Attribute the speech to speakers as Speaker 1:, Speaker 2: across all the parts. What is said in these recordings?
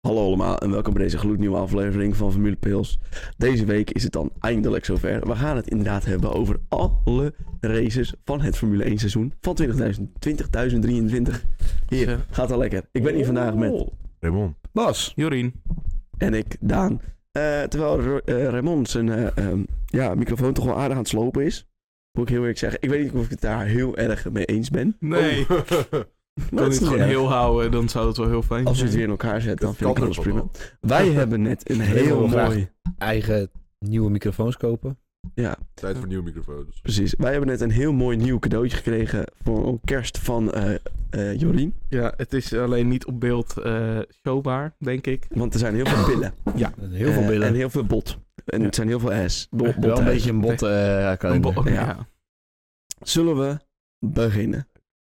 Speaker 1: Hallo allemaal en welkom bij deze gloednieuwe aflevering van Formule Pils. Deze week is het dan eindelijk zover. We gaan het inderdaad hebben over alle races van het Formule 1 seizoen van 20.000, 20.023. Hier, gaat al lekker. Ik ben hier vandaag
Speaker 2: Oh.
Speaker 1: met
Speaker 2: Raymond.
Speaker 3: Bas.
Speaker 4: Jorien.
Speaker 1: en ik, Daan. Eh, terwijl Ro- eh, Raymond zijn eh, ehm, ja, microfoon toch wel aardig aan het slopen is. Moet ik heel eerlijk zeggen. Ik weet niet of ik het daar heel erg mee eens ben.
Speaker 4: Nee,
Speaker 2: Oh.
Speaker 1: Maar
Speaker 4: kan
Speaker 1: dat
Speaker 4: niet
Speaker 1: is niet
Speaker 4: gewoon
Speaker 1: erg.
Speaker 4: heel houden, dan zou het wel heel fijn
Speaker 1: Als we
Speaker 4: zijn.
Speaker 1: het weer in elkaar zetten, dan
Speaker 2: Dat
Speaker 1: vind ik
Speaker 2: kan
Speaker 1: alles
Speaker 2: ook
Speaker 1: prima.
Speaker 2: wel.
Speaker 1: Wij hebben net een heel
Speaker 3: wil graag-
Speaker 1: mooi...
Speaker 3: Eigen nieuwe microfoons kopen.
Speaker 1: Ja,
Speaker 2: Tijd voor nieuwe microfoons.
Speaker 1: Precies. Wij hebben net een heel mooi nieuw cadeautje gekregen voor kerst van eh eh, Jorien.
Speaker 4: Ja, het is alleen niet op beeld eh, showbaar, denk ik.
Speaker 1: Want er zijn heel veel pillen.
Speaker 3: Oh, Heel
Speaker 1: Eh,
Speaker 3: veel
Speaker 1: En
Speaker 3: billen.
Speaker 1: heel veel bot. En het zijn heel veel S. Bo-
Speaker 4: Echt
Speaker 1: bot
Speaker 3: Wel een
Speaker 1: ass.
Speaker 3: beetje een bot. eh,
Speaker 4: Een
Speaker 3: kalender.
Speaker 4: bo- oh,
Speaker 1: ja.
Speaker 4: ja.
Speaker 1: Zullen we beginnen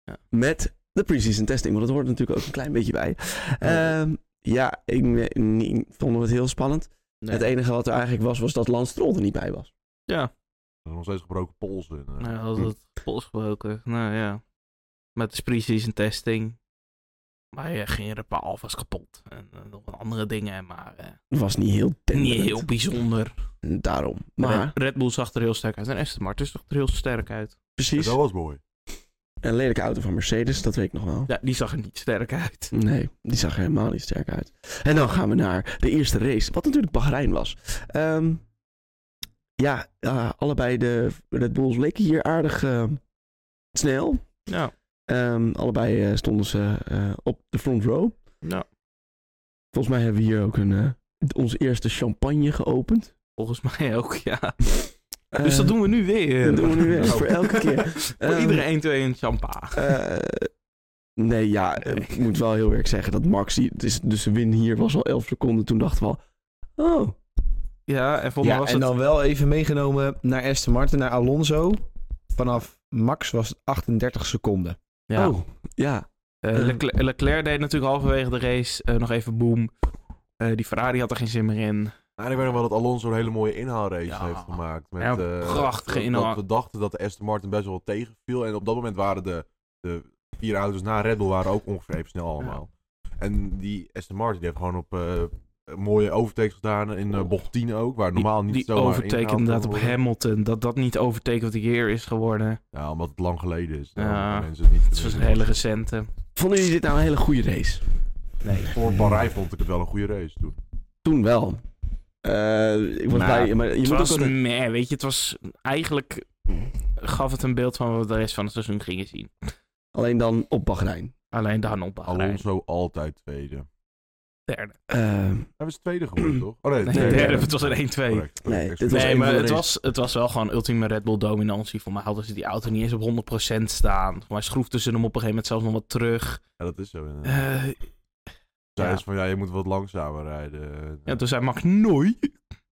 Speaker 4: Ja.
Speaker 1: met de pre-season testing? Want dat hoort er natuurlijk ook een klein beetje bij.
Speaker 3: Oh.
Speaker 1: Ehm, ja, ik, weet niet, vond het heel spannend.
Speaker 4: Nee.
Speaker 1: Het e- enige wat er eigenlijk was, was dat Lance Stroll er niet bij was.
Speaker 4: Ja,
Speaker 2: Er zijn nog steeds gebroken polsen. En, eh,
Speaker 4: nou, als
Speaker 1: Hm.
Speaker 4: het pols gebroken. Nou ja. Met de pre-season testing. Maar ja, ging er een paar alvast kapot. En eh, nog wat andere dingen, maar eh,
Speaker 1: Het was niet heel
Speaker 4: niet
Speaker 1: denderend.
Speaker 4: heel bijzonder.
Speaker 1: Daarom. Maar,
Speaker 4: Red, Red Bull zag er heel sterk uit. En Aston Martin zag er heel sterk uit.
Speaker 1: precies.
Speaker 2: Dat was mooi.
Speaker 1: Een lelijke auto van Mercedes, dat weet ik nog wel.
Speaker 4: Ja, die zag er niet sterk uit.
Speaker 1: Nee, die zag er helemaal niet sterk uit. En dan gaan we naar de eerste race, wat natuurlijk Bahrein was. Ehm, ja, eh, allebei de Red Bulls leken hier aardig ehm, snel.
Speaker 4: Ja,
Speaker 1: Ehm, allebei eh, stonden ze eh, op de front row.
Speaker 4: Ja.
Speaker 1: Volgens mij hebben we hier ook een, eh, onze eerste champagne geopend.
Speaker 4: volgens mij ook, ja. Dus dat
Speaker 1: Eh,
Speaker 4: doen we nu weer.
Speaker 1: dat doen we nu weer,
Speaker 4: Nou.
Speaker 1: voor elke keer.
Speaker 4: Voor
Speaker 1: Ehm,
Speaker 4: iedereen twee en champagne.
Speaker 1: Eh, nee, ja, eh, ik moet wel heel eerlijk zeggen dat Max, die, het is, dus de win hier was al 11 seconden. Toen dachten we al, oh,
Speaker 4: Ja, en voor mij
Speaker 3: Ja,
Speaker 4: was
Speaker 3: en
Speaker 4: het...
Speaker 3: dan wel even meegenomen naar Aston Martin, naar Alonso. Vanaf Max was het 38 seconden.
Speaker 4: Ja.
Speaker 1: oh, ja,
Speaker 4: Eh,
Speaker 1: Eh.
Speaker 4: Leclerc, Leclerc deed natuurlijk halverwege de race eh, nog even boom. Eh, die Ferrari had er geen zin meer in.
Speaker 2: Maar Nou, ik weet nog wel dat Alonso een hele mooie inhaalrace
Speaker 4: Ja.
Speaker 2: heeft gemaakt. Met,
Speaker 4: Ja,
Speaker 2: eh,
Speaker 4: prachtige
Speaker 2: dat-
Speaker 4: inhaal.
Speaker 2: Dat we dachten dat de Aston Martin best wel tegenviel. En op dat moment waren de, de vier auto's na Red Bull waren ook ongeveer even snel allemaal. En die Aston Martin die heeft gewoon op eh, mooie overtakes gedaan. In eh, bocht 10 ook, waar
Speaker 4: Die-
Speaker 2: normaal niet
Speaker 4: die
Speaker 2: zomaar
Speaker 4: overtake
Speaker 2: ingehaald
Speaker 4: inderdaad
Speaker 2: kan
Speaker 4: op
Speaker 2: worden.
Speaker 4: Hamilton. Dat dat niet overtake wat hier is geworden.
Speaker 2: Ja, omdat het lang geleden is. Dan
Speaker 4: Ja.
Speaker 2: kunnen mensen het niet
Speaker 4: Het was een hele recente.
Speaker 1: vonden jullie dit nou een hele goede race?
Speaker 4: Nee.
Speaker 2: Voor Bahrein vond ik het wel een goede race toen.
Speaker 1: Toen wel. Eh, ik was
Speaker 4: Nou,
Speaker 1: bij, maar je
Speaker 4: Het
Speaker 1: moet
Speaker 4: was,
Speaker 1: ook wel-
Speaker 4: meh, weet je, het was eigenlijk... Gaf het een beeld van wat we de rest van het seizoen gingen zien.
Speaker 1: alleen dan op Bahrein.
Speaker 4: Alleen dan op Bahrein.
Speaker 2: Alonso altijd tweede.
Speaker 4: Derde.
Speaker 1: Eh,
Speaker 2: Hij was tweede geworden, toch? Oh nee,
Speaker 4: Nee,
Speaker 1: derde. Het
Speaker 4: was een 1-2.
Speaker 2: Correct.
Speaker 1: Nee,
Speaker 2: Correct.
Speaker 1: dit was
Speaker 4: Nee,
Speaker 1: een
Speaker 4: maar
Speaker 1: van de
Speaker 4: het
Speaker 1: race-
Speaker 4: was, het was wel gewoon ultieme Red Bull dominantie. Voor mij hadden ze die auto niet eens op 100% staan. Maar schroefden ze hem op een gegeven moment zelfs nog wat terug.
Speaker 2: Ja, dat is zo. inderdaad.
Speaker 4: Eh, ja.
Speaker 2: Zeiden ze van, ja, je moet wat langzamer rijden.
Speaker 4: ja, toen zei Max, nooit.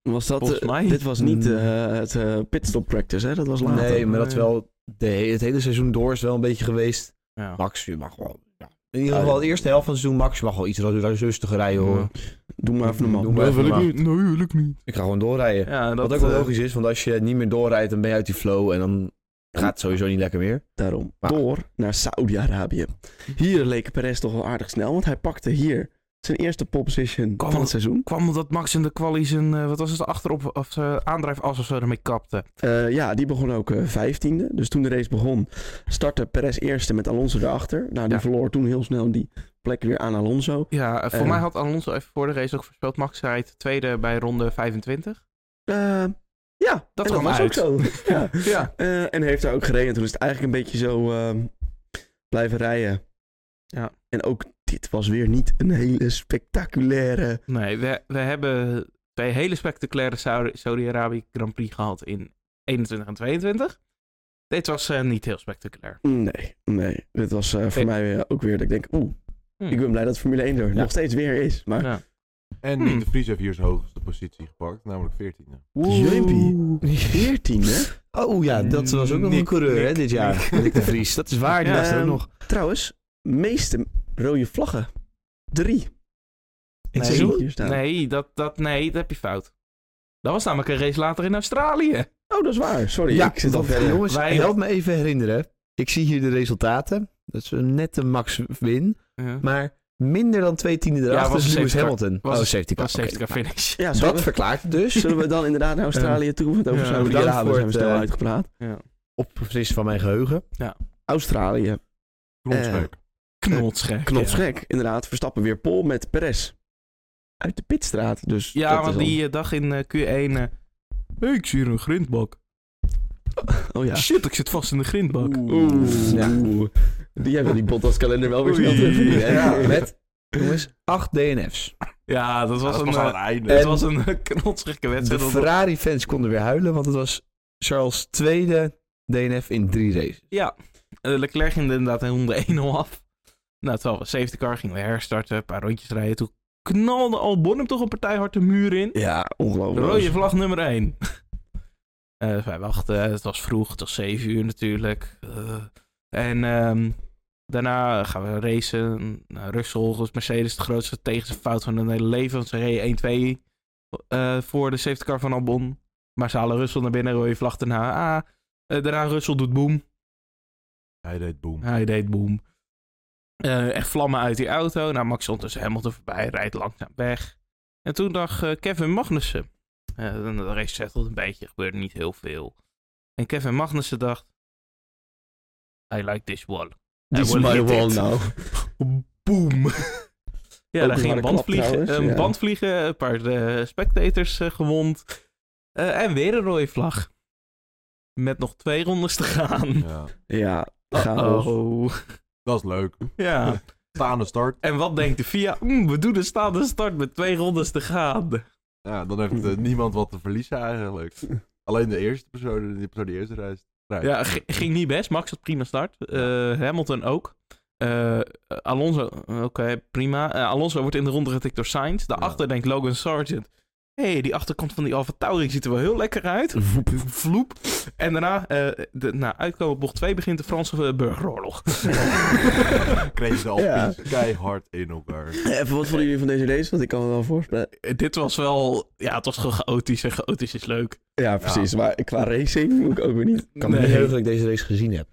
Speaker 1: was dat,
Speaker 4: volgens
Speaker 1: eh,
Speaker 4: mij-
Speaker 1: Dit was niet eh, het eh, pitstop practice, hè? Dat was later.
Speaker 3: Nee, maar dat is
Speaker 4: nee.
Speaker 3: wel de, he- het hele seizoen door is wel een beetje geweest.
Speaker 4: Ja.
Speaker 3: Max, je mag wel... ja. In ieder geval de eerste helft van het seizoen, Max, je mag wel iets ru- rustiger rijden hoor.
Speaker 4: Ja.
Speaker 1: Doe maar even normaal.
Speaker 3: Doe maar even normaal.
Speaker 4: niet. Nee, wil ik niet.
Speaker 3: Ik ga gewoon doorrijden.
Speaker 4: Ja, dat,
Speaker 3: Wat ook wel
Speaker 4: eh,
Speaker 3: logisch is, want als je niet meer doorrijdt, dan ben je uit die flow en dan gaat het sowieso niet lekker meer.
Speaker 1: Daarom.
Speaker 3: Maar-
Speaker 1: Door naar Saudi-Arabië. Hier leek Perez toch wel aardig snel, want hij pakte hier zijn eerste pole position
Speaker 4: Kom.
Speaker 1: van het seizoen.
Speaker 4: kwam omdat Max in de quali zijn, eh, wat was het, achterop, of eh, aandrijfas of zo ermee kapte.
Speaker 1: Eh, ja, die begon ook eh, 15e. Dus toen de race begon, startte Perez eerste met Alonso erachter. Nou, die
Speaker 4: Ja.
Speaker 1: verloor toen heel snel die plek weer aan Alonso.
Speaker 4: Ja, eh, voor
Speaker 1: Eh.
Speaker 4: mij had Alonso even voor de race ook voorspeld. Max rijdt tweede bij ronde 25.
Speaker 1: Eh, ja, en dat,
Speaker 4: kwam
Speaker 1: was
Speaker 4: uit.
Speaker 1: ook zo. ja.
Speaker 4: Ja.
Speaker 1: Eh, en heeft daar ook gereden. Toen is het eigenlijk een beetje zo ehm, blijven rijden.
Speaker 4: Ja.
Speaker 1: En ook dit was weer niet een hele spectaculaire...
Speaker 4: Nee, we, we hebben twee hele spectaculaire Saudi- Saudi-Arabië Grand Prix gehad in 21 en 22. Dit was eh, niet heel spectaculair.
Speaker 1: Nee, nee. Dit was eh, voor
Speaker 4: Nee.
Speaker 1: mij eh, ook weer dat ik denk... Oeh,
Speaker 4: Hm.
Speaker 1: ik ben blij dat Formule 1 er
Speaker 3: Ja.
Speaker 1: nog steeds weer is. Maar
Speaker 4: Ja.
Speaker 2: En
Speaker 4: Hmm.
Speaker 2: Nick de Vries heeft hier zijn hoogste positie gepakt, namelijk 14e.
Speaker 1: Jumpy. 14 hè?
Speaker 3: Oh ja, dat was ook nog een
Speaker 4: Nick,
Speaker 3: coureur hè,
Speaker 4: Nick,
Speaker 3: dit jaar.
Speaker 4: Nick.
Speaker 3: Nick de Vries, dat is waar. Die
Speaker 4: Ja,
Speaker 3: was er ook
Speaker 1: ehm,
Speaker 3: nog.
Speaker 1: Trouwens, meeste rode vlaggen. Drie.
Speaker 3: In
Speaker 4: Nee.
Speaker 3: het seizoen?
Speaker 1: Hier staan.
Speaker 4: Nee, dat, dat, nee, dat heb je fout. Dat was namelijk een race later in Australië.
Speaker 1: Oh, dat is waar. Sorry, ik zit al
Speaker 3: want,
Speaker 1: verder.
Speaker 3: Jongens,
Speaker 4: Wij-
Speaker 3: help me even herinneren. Ik zie hier de resultaten. Dat is een nette max win.
Speaker 4: Ja.
Speaker 3: Maar minder dan twee tienden erachter
Speaker 4: was
Speaker 3: is
Speaker 4: een
Speaker 3: Lewis
Speaker 4: safety car.
Speaker 3: Hamilton.
Speaker 4: Was
Speaker 3: oh,
Speaker 4: een-
Speaker 3: safety car.
Speaker 4: Dat is safety
Speaker 3: Oké.
Speaker 4: car finish.
Speaker 1: Ja,
Speaker 3: Nou,
Speaker 1: zullen
Speaker 3: Dat
Speaker 1: we,
Speaker 3: verklaart het dus.
Speaker 1: zullen we dan inderdaad naar Australië toe? Want over
Speaker 4: Ja,
Speaker 1: Saudi-Arabië
Speaker 3: bedankt
Speaker 1: zijn
Speaker 3: voor
Speaker 1: we
Speaker 3: het,
Speaker 1: snel
Speaker 3: eh,
Speaker 1: uitgepraat.
Speaker 4: Ja.
Speaker 3: Op precies van mijn geheugen.
Speaker 1: Australië,
Speaker 2: Knonsgek.
Speaker 4: Knotsgek.
Speaker 1: knotsgek. Inderdaad, Verstappen weer pol met Perez. Uit de pitstraat, dus
Speaker 4: Ja,
Speaker 1: dat is
Speaker 4: want
Speaker 1: dan-
Speaker 4: die eh, dag in eh, Q1... eh, hey, ik zie hier een grindbak.
Speaker 1: Oh ja.
Speaker 4: Shit, ik zit vast in de grindbak.
Speaker 1: Oeh.
Speaker 3: Ja.
Speaker 1: Oeh. Die hebben die Bottas-kalender wel weer snel
Speaker 4: Oei.
Speaker 1: terugverdiend, hè?
Speaker 2: Ja.
Speaker 3: Met, jongens, acht DNF's.
Speaker 4: Ja, dat was
Speaker 2: Dat
Speaker 4: een...
Speaker 2: was aan het
Speaker 4: eh,
Speaker 2: einde.
Speaker 4: Het was een knotsgekke
Speaker 3: De
Speaker 4: wedstrijd. want-
Speaker 3: Ferrari-fans konden weer huilen, want het was Charles' tweede DNF in drie races.
Speaker 4: Ja, Eh, Leclerc ging inderdaad in ronde 1-0 af. Nou, terwijl we safety car gingen we herstarten, een paar rondjes rijden. Toen knalde Albon hem toch een partij hard de muur in.
Speaker 1: Ja, ongelooflijk.
Speaker 4: Rode vlag nummer 1. wij wachten, eh, het was vroeg, het was 7 uur natuurlijk. Eh, en ehm, daarna gaan we racen. Nou, Russell was Mercedes de grootste tegen zijn fout van hun hele leven. Want ze reden 1-2 eh, voor de safety car van Albon. Maar ze halen Russell naar binnen, rode vlag daarna. Ah, eh, daarna Russell doet boom.
Speaker 2: Hij deed boom.
Speaker 4: Hij deed boom. Eh, echt vlammen uit die auto. Nou, Max stond tussen Hamilton voorbij, rijdt langzaam weg. En toen dacht eh, Kevin Magnussen. Eh, de race settelt een beetje, gebeurde niet heel veel. En Kevin Magnussen dacht... I like this wall.
Speaker 1: Die is
Speaker 4: Hij wordt
Speaker 1: my wall
Speaker 4: hit.
Speaker 1: now.
Speaker 4: Boom. ja,
Speaker 1: Ook
Speaker 4: daar
Speaker 1: een harde
Speaker 4: ging een band
Speaker 1: klap
Speaker 4: vliegen.
Speaker 1: trouwens,
Speaker 4: Een
Speaker 1: ja.
Speaker 4: band vliegen, een paar eh, spectators eh, gewond. Eh, en weer een rode vlag. Met nog twee rondes te gaan.
Speaker 2: Ja.
Speaker 1: Ja, chaos.
Speaker 4: Oh.
Speaker 2: Dat is leuk.
Speaker 4: Ja.
Speaker 2: Staande start.
Speaker 4: En wat denkt de FIA? Mm, we doen een staande start met twee rondes te gaan.
Speaker 2: Ja, dan heeft eh, niemand wat te verliezen eigenlijk. Alleen de eerste persoon, die persoon die eerst reist. rijdt.
Speaker 4: Ja, g- ging niet best. Max had prima start. Eh, Hamilton ook. Eh, Alonso, oké, prima. Eh, Alonso wordt in de ronde getikt door Sainz. Daarachter denkt Logan Sargent. Hé, hey, die achterkant van die Alfa Tauri ziet er wel heel lekker uit.
Speaker 1: Voep.
Speaker 4: Vloep. En daarna, eh de, nou, uitkomen op bocht 2 begint de Franse eh, burgeroorlog.
Speaker 2: Kreeg de Alpines keihard in elkaar.
Speaker 1: Even wat vonden jullie van deze race? Want ik kan het wel voorspellen.
Speaker 4: Eh, Dit was wel, ja, het was gewoon chaotisch. En chaotisch is leuk.
Speaker 1: Ja, precies. Maar qua racing moet ik ook weer niet.
Speaker 3: Ik kan me niet heugen dat ik deze race gezien heb.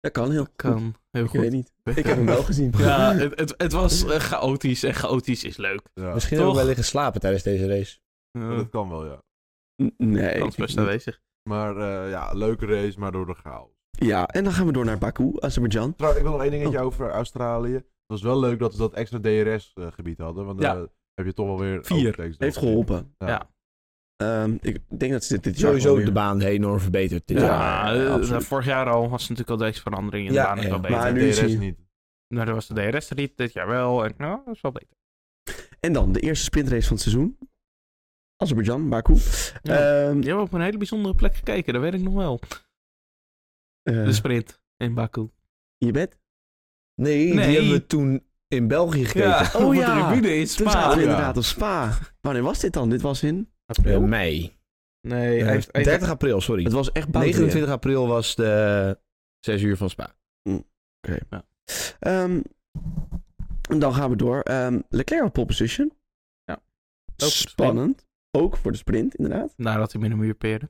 Speaker 1: Dat kan heel goed.
Speaker 4: Kan heel
Speaker 1: Ik weet
Speaker 4: goed.
Speaker 1: niet. Ik heb hem wel gezien.
Speaker 4: Ja, het, het, het was eh, chaotisch en chaotisch is leuk. Eh,
Speaker 2: Ja,
Speaker 3: Misschien
Speaker 4: Toch?
Speaker 3: hebben we wel liggen slapen tijdens deze race.
Speaker 2: dat kan wel, ja.
Speaker 1: N- Nee.
Speaker 4: kans best aanwezig.
Speaker 2: Maar eh, ja, leuke race, maar door de chaos.
Speaker 1: Ja, en dan gaan we door naar Baku, Azerbeidzjan.
Speaker 2: Trouw, ik wil nog één dingetje over Australië. Het was wel leuk dat ze dat extra DRS-gebied eh, hadden. Want
Speaker 4: Ja.
Speaker 2: dan heb je toch wel weer...
Speaker 4: Vier.
Speaker 2: overtakes
Speaker 1: Heeft
Speaker 2: door.
Speaker 1: geholpen.
Speaker 2: Ja.
Speaker 4: Ja.
Speaker 1: Ehm, ik denk dat ze dit, dit jaar
Speaker 3: Sowieso
Speaker 1: gewoon
Speaker 3: de
Speaker 1: weer-
Speaker 3: baan enorm verbeterd. dit
Speaker 4: Ja,
Speaker 3: jaar.
Speaker 1: ja,
Speaker 4: eh,
Speaker 1: absoluut.
Speaker 4: vorig jaar al was natuurlijk al deze verandering in
Speaker 3: Ja,
Speaker 4: de baan ook
Speaker 3: ja,
Speaker 4: wel beter.
Speaker 3: maar
Speaker 1: nu
Speaker 2: de
Speaker 1: is hij-
Speaker 2: DRS niet.
Speaker 4: Nou, er was de DRS er niet, dit jaar wel. En, nou, dat is wel beter.
Speaker 1: En dan de eerste sprintrace van het seizoen. Azerbeidzjan, Baku.
Speaker 4: Ja.
Speaker 1: Ehm,
Speaker 4: Je hebt op een hele bijzondere plek gekeken, dat weet ik nog wel.
Speaker 1: eh,
Speaker 4: De sprint in Baku.
Speaker 1: je bed?
Speaker 3: Nee,
Speaker 4: Nee.
Speaker 3: die hebben we toen in België gekeken.
Speaker 1: Oh
Speaker 4: op
Speaker 1: ja,
Speaker 4: de tribune in
Speaker 1: Toen zaten
Speaker 4: Spa.
Speaker 1: we
Speaker 2: ja.
Speaker 1: inderdaad op Spa. Wanneer was dit dan? Dit was in...
Speaker 3: Eh,
Speaker 4: April?
Speaker 3: mei.
Speaker 4: Nee,
Speaker 3: Eh,
Speaker 4: hij heeft- hij
Speaker 3: 30 april, sorry.
Speaker 1: Het was echt Baku.
Speaker 3: 29 april was de 6 uur van Spa.
Speaker 1: Ehm, en dan gaan we door. Ehm, Leclerc op pole position.
Speaker 4: Ja. Ook voor de
Speaker 1: Spannend. Ook voor de sprint, inderdaad.
Speaker 4: Nadat hij met een muur peerde.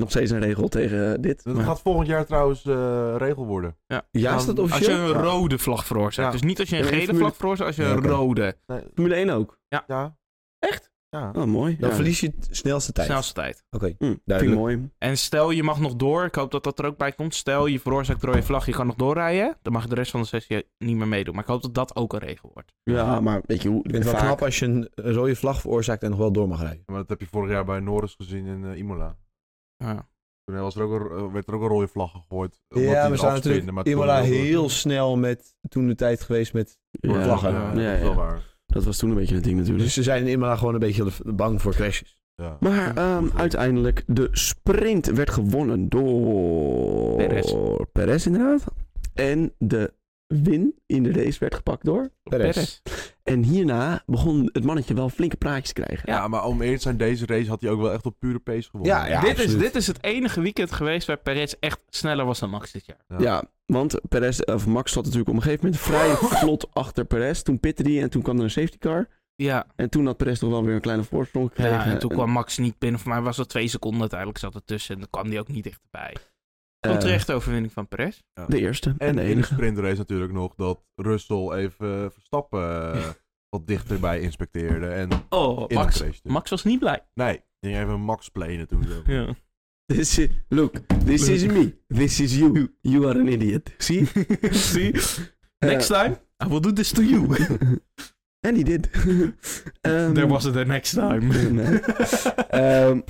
Speaker 1: Nog steeds een regel tegen eh, dit.
Speaker 2: Dat
Speaker 1: maar-
Speaker 2: gaat volgend jaar trouwens eh, regel worden.
Speaker 3: Ja,
Speaker 2: Dan-
Speaker 3: is dat
Speaker 4: Ehm, Als je
Speaker 3: officieel?
Speaker 4: een rode vlag veroorzaakt.
Speaker 2: Ja.
Speaker 4: Dus niet als je een
Speaker 1: Ja, in
Speaker 4: gele
Speaker 1: Formule-
Speaker 4: vlag veroorzaakt, als je
Speaker 3: Ja,
Speaker 4: een
Speaker 3: oké.
Speaker 4: rode.
Speaker 2: Nee,
Speaker 1: Formule 1 ook.
Speaker 2: ja.
Speaker 1: Echt?
Speaker 2: Ja.
Speaker 1: Oh, mooi.
Speaker 3: Dan
Speaker 1: ja.
Speaker 3: verlies je het snelste tijd.
Speaker 4: Snelste tijd.
Speaker 3: Oké.
Speaker 1: Hm, vind ik
Speaker 3: Duidelijk.
Speaker 1: mooi.
Speaker 4: En stel je mag nog door, ik hoop dat dat er ook bij komt. Stel je veroorzaakt een rode vlag, je kan nog doorrijden. Dan mag je de rest van de sessie niet meer meedoen. Maar ik hoop dat dat ook een regel wordt.
Speaker 1: Ja, maar weet je hoe...
Speaker 3: Ik vind het wel knap als je een rode vlag veroorzaakt en nog wel door mag rijden.
Speaker 2: Maar dat heb je vorig jaar bij Norris gezien in eh, Imola.
Speaker 4: Ja.
Speaker 2: Toen was er ook een, eh, werd er ook een rode vlag gegooid.
Speaker 3: ja, we staan natuurlijk Imola heel snel met toen de tijd geweest met...
Speaker 1: Ja,
Speaker 2: vlaggen.
Speaker 3: vlaggen.
Speaker 1: Ja,
Speaker 2: Ja, dat is wel
Speaker 1: ja.
Speaker 2: waar.
Speaker 1: Dat was toen een beetje het ding natuurlijk.
Speaker 3: Dus ze zijn in Imola gewoon een beetje bang voor crashes.
Speaker 2: Ja.
Speaker 1: Maar ehm, uiteindelijk, de sprint werd gewonnen door...
Speaker 4: Perez.
Speaker 1: Perez, inderdaad. En de win in de race werd gepakt door...
Speaker 3: Perez.
Speaker 1: En hierna begon het mannetje wel flinke praatjes te krijgen.
Speaker 2: Ja. maar om eerlijk te zijn, deze race had hij ook wel echt op pure pace gewonnen.
Speaker 3: Ja, ja.
Speaker 4: dit, is,
Speaker 3: absoluut.
Speaker 4: dit is het enige weekend geweest waar Perez echt sneller was dan Max dit jaar.
Speaker 1: Ja, want Perez, of Max zat natuurlijk op een gegeven moment vrij vlot achter Perez. Toen pitte die en toen kwam er een safety car.
Speaker 4: Ja,
Speaker 1: En toen had Perez toch wel weer een kleine voorsprong gekregen.
Speaker 4: en toen kwam Max niet binnen. Voor mij was dat twee seconden uiteindelijk zat ertussen. En dan kwam hij ook niet dichterbij.
Speaker 1: Eh,
Speaker 4: Onterechte overwinning van Perez.
Speaker 1: de eerste en,
Speaker 2: En
Speaker 1: de
Speaker 2: in de
Speaker 1: enige.
Speaker 2: sprintrace natuurlijk nog dat Russell even eh, Verstappen eh, wat dichterbij inspecteerde. En
Speaker 4: Oh,
Speaker 2: in
Speaker 4: Max,
Speaker 2: de race. dus.
Speaker 4: Max was niet blij.
Speaker 2: Nee, die ging even Max planen toen. Zo.
Speaker 4: Ja.
Speaker 1: This is, look, this is me. This is you. You are an idiot. Zie? Zie?
Speaker 4: Next time, I will do this to you.
Speaker 1: En die dit.
Speaker 4: There was it the next time.
Speaker 1: Ehm. Nee. Ehm,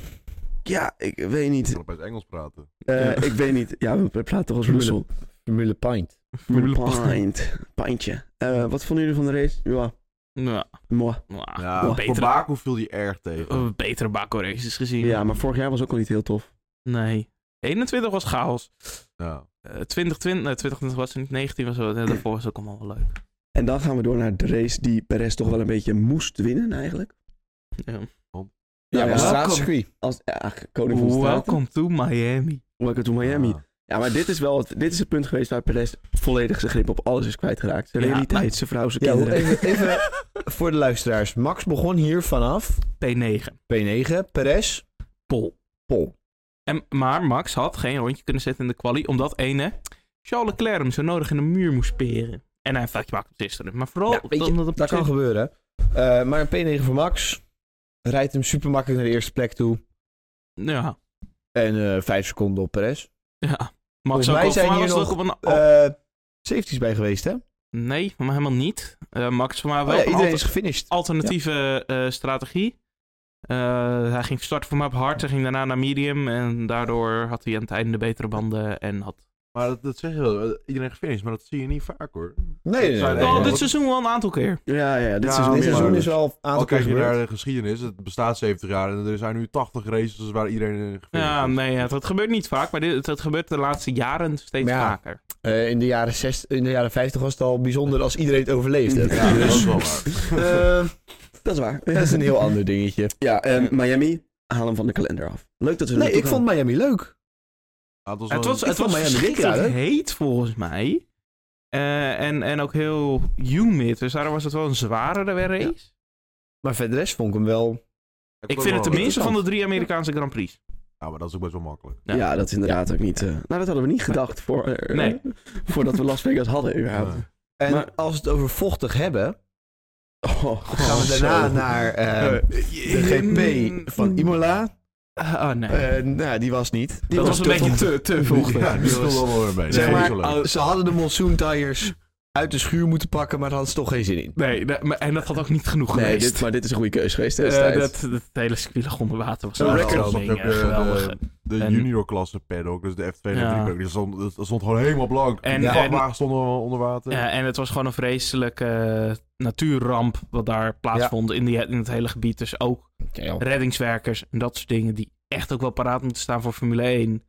Speaker 1: ja, ik weet
Speaker 2: Ik
Speaker 1: niet.
Speaker 2: kan opeens Engels praten.
Speaker 1: Eh,
Speaker 4: Ja.
Speaker 1: Ik weet niet. Ja, we praten toch als Russell.
Speaker 3: Formule Pint.
Speaker 4: Formule
Speaker 1: Pint. Pintje. Eh, wat vonden jullie van de race? Ja,
Speaker 4: Nou,
Speaker 1: mooi.
Speaker 4: nou,
Speaker 2: Ja, voor
Speaker 4: betere,
Speaker 2: Baku viel die erg tegen.
Speaker 4: eh, betere Baco races gezien.
Speaker 1: Ja, maar vorig jaar was ook al niet heel tof.
Speaker 4: Nee. 21 was chaos.
Speaker 2: Ja.
Speaker 4: Eh 2020, nee, 2020 was het niet. 19 was wel. eh, Daarvoor was het ook allemaal wel leuk.
Speaker 1: En dan gaan we door naar de race die Perez toch wel een beetje moest winnen eigenlijk.
Speaker 4: Ja.
Speaker 3: Oh, Ja,
Speaker 1: Nou
Speaker 3: maar
Speaker 1: ja,
Speaker 3: straatcircuit.
Speaker 1: Als, ja, koning van de straten.
Speaker 4: Welcome to Miami.
Speaker 1: Welcome to Miami.
Speaker 2: Ja.
Speaker 1: Ja, maar dit is wel het, dit is het punt geweest waar Perez volledig zijn grip op alles is kwijtgeraakt. Zijn
Speaker 4: Ja,
Speaker 1: realiteit,
Speaker 4: maar-
Speaker 1: zijn vrouw, zijn
Speaker 3: Ja,
Speaker 1: kinderen.
Speaker 3: even, even voor de luisteraars. Max begon hier vanaf
Speaker 4: P9.
Speaker 3: P9, Perez,
Speaker 4: Pol.
Speaker 3: Pol.
Speaker 4: En, maar Max had geen rondje kunnen zetten in de quali, omdat ene Charles Leclerc hem zo nodig in de muur moest peren. En hij heeft gemaakt op gisteren. Maar vooral
Speaker 3: Ja, weet je,
Speaker 4: omdat het
Speaker 3: Dat kan gebeuren. Eh, maar een P9 voor Max rijdt hem super makkelijk naar de eerste plek toe.
Speaker 4: Ja,
Speaker 3: En eh, vijf seconden op Perez.
Speaker 4: ja. Max
Speaker 3: Volgens
Speaker 4: ook
Speaker 3: mij
Speaker 4: al-
Speaker 3: zijn
Speaker 4: voor mij
Speaker 3: hier
Speaker 4: was het
Speaker 3: nog,
Speaker 4: ook op een...
Speaker 3: Eh safety is bij geweest, hè?
Speaker 4: Nee, maar helemaal niet. Eh, Max voor mij wel
Speaker 3: Oh ja,
Speaker 4: op een
Speaker 3: iedereen
Speaker 4: alter-
Speaker 3: is gefinished.
Speaker 4: alternatieve eh, strategie. Eh, hij ging starten voor mij op hard, hij ging daarna naar medium. En daardoor had hij aan het einde de betere banden en had...
Speaker 2: Maar dat, dat zeg je wel, eh, iedereen gefinished, maar dat zie je niet vaak hoor.
Speaker 3: Nee, nee, nee.
Speaker 2: Oh,
Speaker 3: nee.
Speaker 4: Oh,
Speaker 2: ja.
Speaker 4: dit seizoen wel een aantal keer.
Speaker 1: Ja, Ah, ja, dit
Speaker 2: Ja,
Speaker 1: is wel
Speaker 2: dit
Speaker 3: Dit
Speaker 1: meer
Speaker 3: seizoen
Speaker 1: waar.
Speaker 3: is wel een aantal
Speaker 2: Al
Speaker 3: keer
Speaker 2: kijk je naar
Speaker 3: gebeurd.
Speaker 2: de geschiedenis, het bestaat 70 jaar en er zijn nu 80 races waar iedereen eh, gefinished
Speaker 4: Ja,
Speaker 2: is.
Speaker 4: nee, het, het gebeurt niet vaak, maar dit, het, het gebeurt de laatste jaren steeds
Speaker 3: Ja.
Speaker 4: vaker.
Speaker 3: Eh, in, de jaren zes, in de jaren 50 was het al bijzonder als iedereen het overleefde.
Speaker 2: Ja, dat
Speaker 3: dus,
Speaker 2: is wel waar.
Speaker 3: eh,
Speaker 1: Dat is waar.
Speaker 3: dat is een heel ander dingetje.
Speaker 1: Ja, en Miami, haal hem van de kalender af. Leuk dat we er
Speaker 3: Nee,
Speaker 1: naartoe
Speaker 3: ik vond Miami leuk.
Speaker 2: Ja, het was
Speaker 4: Het
Speaker 2: wel-
Speaker 4: was, het
Speaker 3: vond
Speaker 4: was
Speaker 3: Miami dit jaar,
Speaker 4: verschrikkelijk
Speaker 3: hè?
Speaker 4: heet volgens mij. Eh, en, en ook heel humid. Dus daarom was het wel een zwaardere race.
Speaker 3: Maar verder de rest vond ik hem wel...
Speaker 4: Ik vind het de
Speaker 2: wel-
Speaker 4: minste van de drie Amerikaanse Grand Prix.
Speaker 2: Ja, maar dat is ook best wel makkelijk.
Speaker 1: Ja. dat is inderdaad ook niet... eh, nou, dat hadden we niet gedacht voor, eh,
Speaker 4: Nee.
Speaker 1: voordat we Las Vegas hadden überhaupt.
Speaker 2: Ja.
Speaker 3: En
Speaker 1: Maar-
Speaker 3: als we het over vochtig hebben,
Speaker 1: Oh,
Speaker 3: gaan we
Speaker 1: zo.
Speaker 3: daarna naar eh, de
Speaker 4: mm,
Speaker 3: GP van Imola.
Speaker 4: Ah, ah, nee.
Speaker 3: Eh, nou, die was niet. Die
Speaker 4: dat was een
Speaker 3: te
Speaker 4: beetje
Speaker 3: vochtig.
Speaker 4: te, te vochtig.
Speaker 2: Ja, die viel wel weer mee.
Speaker 3: Zeg
Speaker 2: Nee,
Speaker 3: maar,
Speaker 2: niet zo leuk.
Speaker 3: oh, ze hadden de monsoon tires uit de schuur moeten pakken, maar daar hadden ze toch geen zin in.
Speaker 4: Nee, nee, maar- en dat had ook niet genoeg
Speaker 1: Nee,
Speaker 4: geweest.
Speaker 1: dit, maar dit is een goede keuze geweest
Speaker 4: Eh,
Speaker 1: destijds.
Speaker 4: dat, dat hele circuit lag onder water. was
Speaker 2: Zo'n
Speaker 4: wel
Speaker 2: record
Speaker 4: een
Speaker 2: stond
Speaker 4: ding,
Speaker 2: ook,
Speaker 4: eh,
Speaker 2: eh, de-
Speaker 4: geweldig.
Speaker 2: De
Speaker 4: En-
Speaker 2: junior klasse paddock, dus de F2 en
Speaker 4: Ja.
Speaker 2: de 3 die stond, dat stond gewoon helemaal blank.
Speaker 4: En-
Speaker 2: En, de
Speaker 4: en-
Speaker 2: vrachtwagen stond al onder water.
Speaker 4: Ja, Eh, en het was gewoon een vreselijke eh, natuurramp wat daar plaatsvond in, die, in het hele gebied. Dus ook reddingswerkers en dat soort dingen die echt ook wel paraat moeten staan voor Formule 1,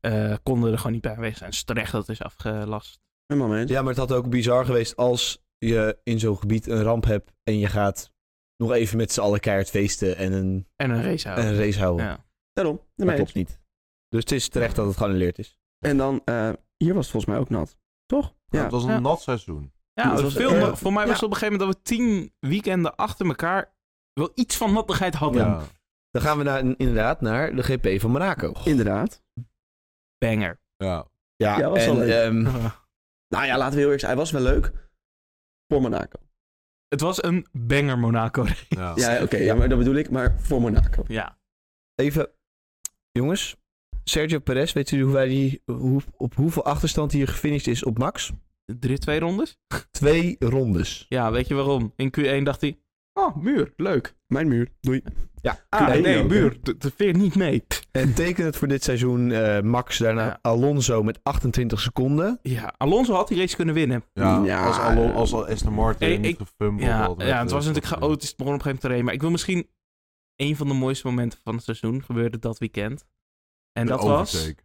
Speaker 4: eh, konden er gewoon niet bij aanwezig zijn. Dus terecht dat is afgelast.
Speaker 1: Helemaal mee eens.
Speaker 3: Ja, maar het had ook bizar geweest als je in zo'n gebied een ramp hebt en je gaat nog even met z'n allen keihard feesten en een,
Speaker 4: En een race houden.
Speaker 3: en een race houden.
Speaker 4: Ja.
Speaker 1: Daarom,
Speaker 3: dat
Speaker 1: daarmee
Speaker 3: klopt
Speaker 1: eens.
Speaker 3: niet. Dus het is terecht dat het geannuleerd is.
Speaker 1: En dan, eh, hier was het volgens mij ook nat. Toch?
Speaker 2: Ja, het was een
Speaker 4: Ja.
Speaker 2: nat seizoen.
Speaker 4: Ja,
Speaker 1: Dat
Speaker 4: het
Speaker 1: was-
Speaker 4: veel,
Speaker 1: eh,
Speaker 4: maar voor mij was het op een gegeven moment dat we tien weekenden achter elkaar wel iets van nattigheid hadden.
Speaker 2: Ja.
Speaker 3: Dan gaan we naar, inderdaad naar de GP van Monaco.
Speaker 1: Inderdaad.
Speaker 4: Banger.
Speaker 2: Ja.
Speaker 1: Ja, was
Speaker 3: en,
Speaker 1: wel leuk.
Speaker 3: ehm,
Speaker 1: Nou ja, laten we heel eerlijk zijn. Hij was wel leuk. Voor Monaco.
Speaker 4: Het was een banger Monaco.
Speaker 2: ja.
Speaker 1: Ja, oké. ja, maar dat bedoel ik. Maar voor Monaco.
Speaker 4: Ja.
Speaker 3: even, jongens, Sergio Perez, weet u hoe wij die, hoe, op hoeveel achterstand hier gefinished is op Max?
Speaker 4: Drie, twee rondes?
Speaker 3: Twee rondes.
Speaker 4: Ja, weet je waarom? In Q1 dacht hij, oh, muur, leuk.
Speaker 1: Mijn muur. Doei.
Speaker 4: Ah,
Speaker 1: Q1
Speaker 4: nee,
Speaker 1: ook,
Speaker 4: muur, de, de veer niet mee.
Speaker 3: En teken het voor dit seizoen eh, Max, daarna
Speaker 4: Ja.
Speaker 3: Alonso met 28 seconden.
Speaker 4: Ja, Alonso had die race kunnen winnen.
Speaker 2: Ja,
Speaker 1: Ja.
Speaker 2: als, Alon, als Aston Martin
Speaker 4: Eh, ik-
Speaker 2: niet gefumbled
Speaker 4: Ja,
Speaker 2: had met,
Speaker 4: ja het was
Speaker 2: eh,
Speaker 4: natuurlijk chaotisch, het begon op een gegeven moment te regenen. Maar ik wil misschien een van de mooiste momenten van het seizoen gebeurde dat weekend. En
Speaker 2: de
Speaker 4: dat was
Speaker 2: overtake.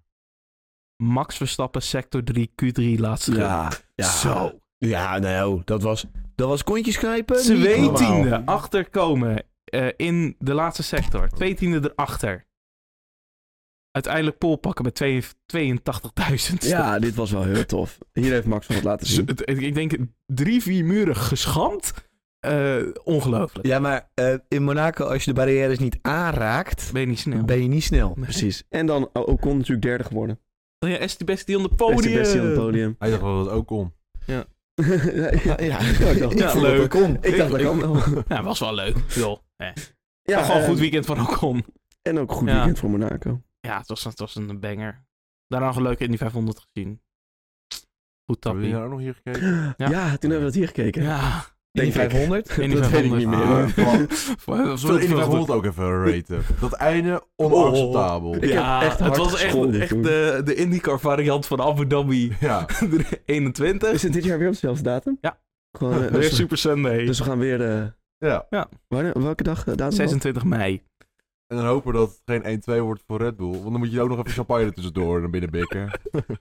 Speaker 4: Max Verstappen sector 3 Q3 laatste rit.
Speaker 1: ja.
Speaker 4: Zo.
Speaker 3: Ja, nou, dat was, dat was kontjes knijpen.
Speaker 4: Twee
Speaker 3: niet normaal.
Speaker 4: tienden achterkomen eh, in de laatste sector. Twee tienden erachter. Uiteindelijk pol pakken met 82.000.
Speaker 1: Ja, dit was wel heel tof. Hier heeft Max van wat laten
Speaker 4: Ze-
Speaker 1: zien.
Speaker 4: het- het- ik denk drie, vier muren geschamd. Eh, ongelooflijk.
Speaker 3: Ja, maar eh, in Monaco, als je de barrières niet aanraakt,
Speaker 4: Ben je niet snel.
Speaker 3: ben je niet snel.
Speaker 1: Precies. En dan O- Ocon oh, natuurlijk derde geworden.
Speaker 4: Oh ja, Estibesti on the
Speaker 1: Echt
Speaker 4: podium.
Speaker 1: de beste op het podium.
Speaker 2: Hij dacht wel dat het ook kon.
Speaker 1: ja, ja, ik dacht,
Speaker 4: Ja,
Speaker 1: ik vond-
Speaker 4: leuk.
Speaker 3: dat kon.
Speaker 1: Ik dacht dat
Speaker 4: Ik-
Speaker 1: kan wel.
Speaker 4: Ja, was wel leuk. Joh. Eh.
Speaker 1: Ja,
Speaker 4: gewoon
Speaker 1: eh,
Speaker 4: goed weekend van Ocon.
Speaker 1: En ook goed
Speaker 4: Ja.
Speaker 1: weekend voor Monaco.
Speaker 4: Ja, het was, het was een banger. Daarna nog een leuke Indy 500 gezien. Goed
Speaker 2: Hebben
Speaker 4: tappie.
Speaker 2: jullie
Speaker 4: Ja,
Speaker 2: daar ook nog hier gekeken?
Speaker 1: Ja. toen hebben we dat hier gekeken.
Speaker 3: In
Speaker 1: denk
Speaker 3: die
Speaker 1: ik.
Speaker 3: 500.
Speaker 4: Indy
Speaker 1: dat weet ik
Speaker 4: 500.
Speaker 1: niet meer.
Speaker 2: Ah,
Speaker 1: hoor.
Speaker 4: Voor-
Speaker 2: Zullen
Speaker 4: voor-
Speaker 2: we Indy
Speaker 4: voor-
Speaker 2: 500 ook even raten? Dat einde onacceptabel.
Speaker 1: Ik
Speaker 4: Ja,
Speaker 1: heb echt
Speaker 4: het
Speaker 1: hard
Speaker 4: was echt,
Speaker 1: gescholden,
Speaker 4: echt
Speaker 1: toen.
Speaker 4: de, de IndyCar variant van Abu Dhabi
Speaker 2: Ja,
Speaker 4: 21.
Speaker 1: Is het dit jaar weer op dezelfde datum?
Speaker 4: Ja.
Speaker 1: Gewoon, eh,
Speaker 4: Weer
Speaker 1: dus,
Speaker 4: Super Sunday.
Speaker 1: dus we gaan weer... eh,
Speaker 2: ja.
Speaker 1: wanneer- welke dag? eh, datum?
Speaker 4: 26 mei.
Speaker 2: En dan hopen we dat het geen 1-2 wordt voor Red Bull. Want dan moet je ook nog even champagne er tussendoor naar binnen bikken.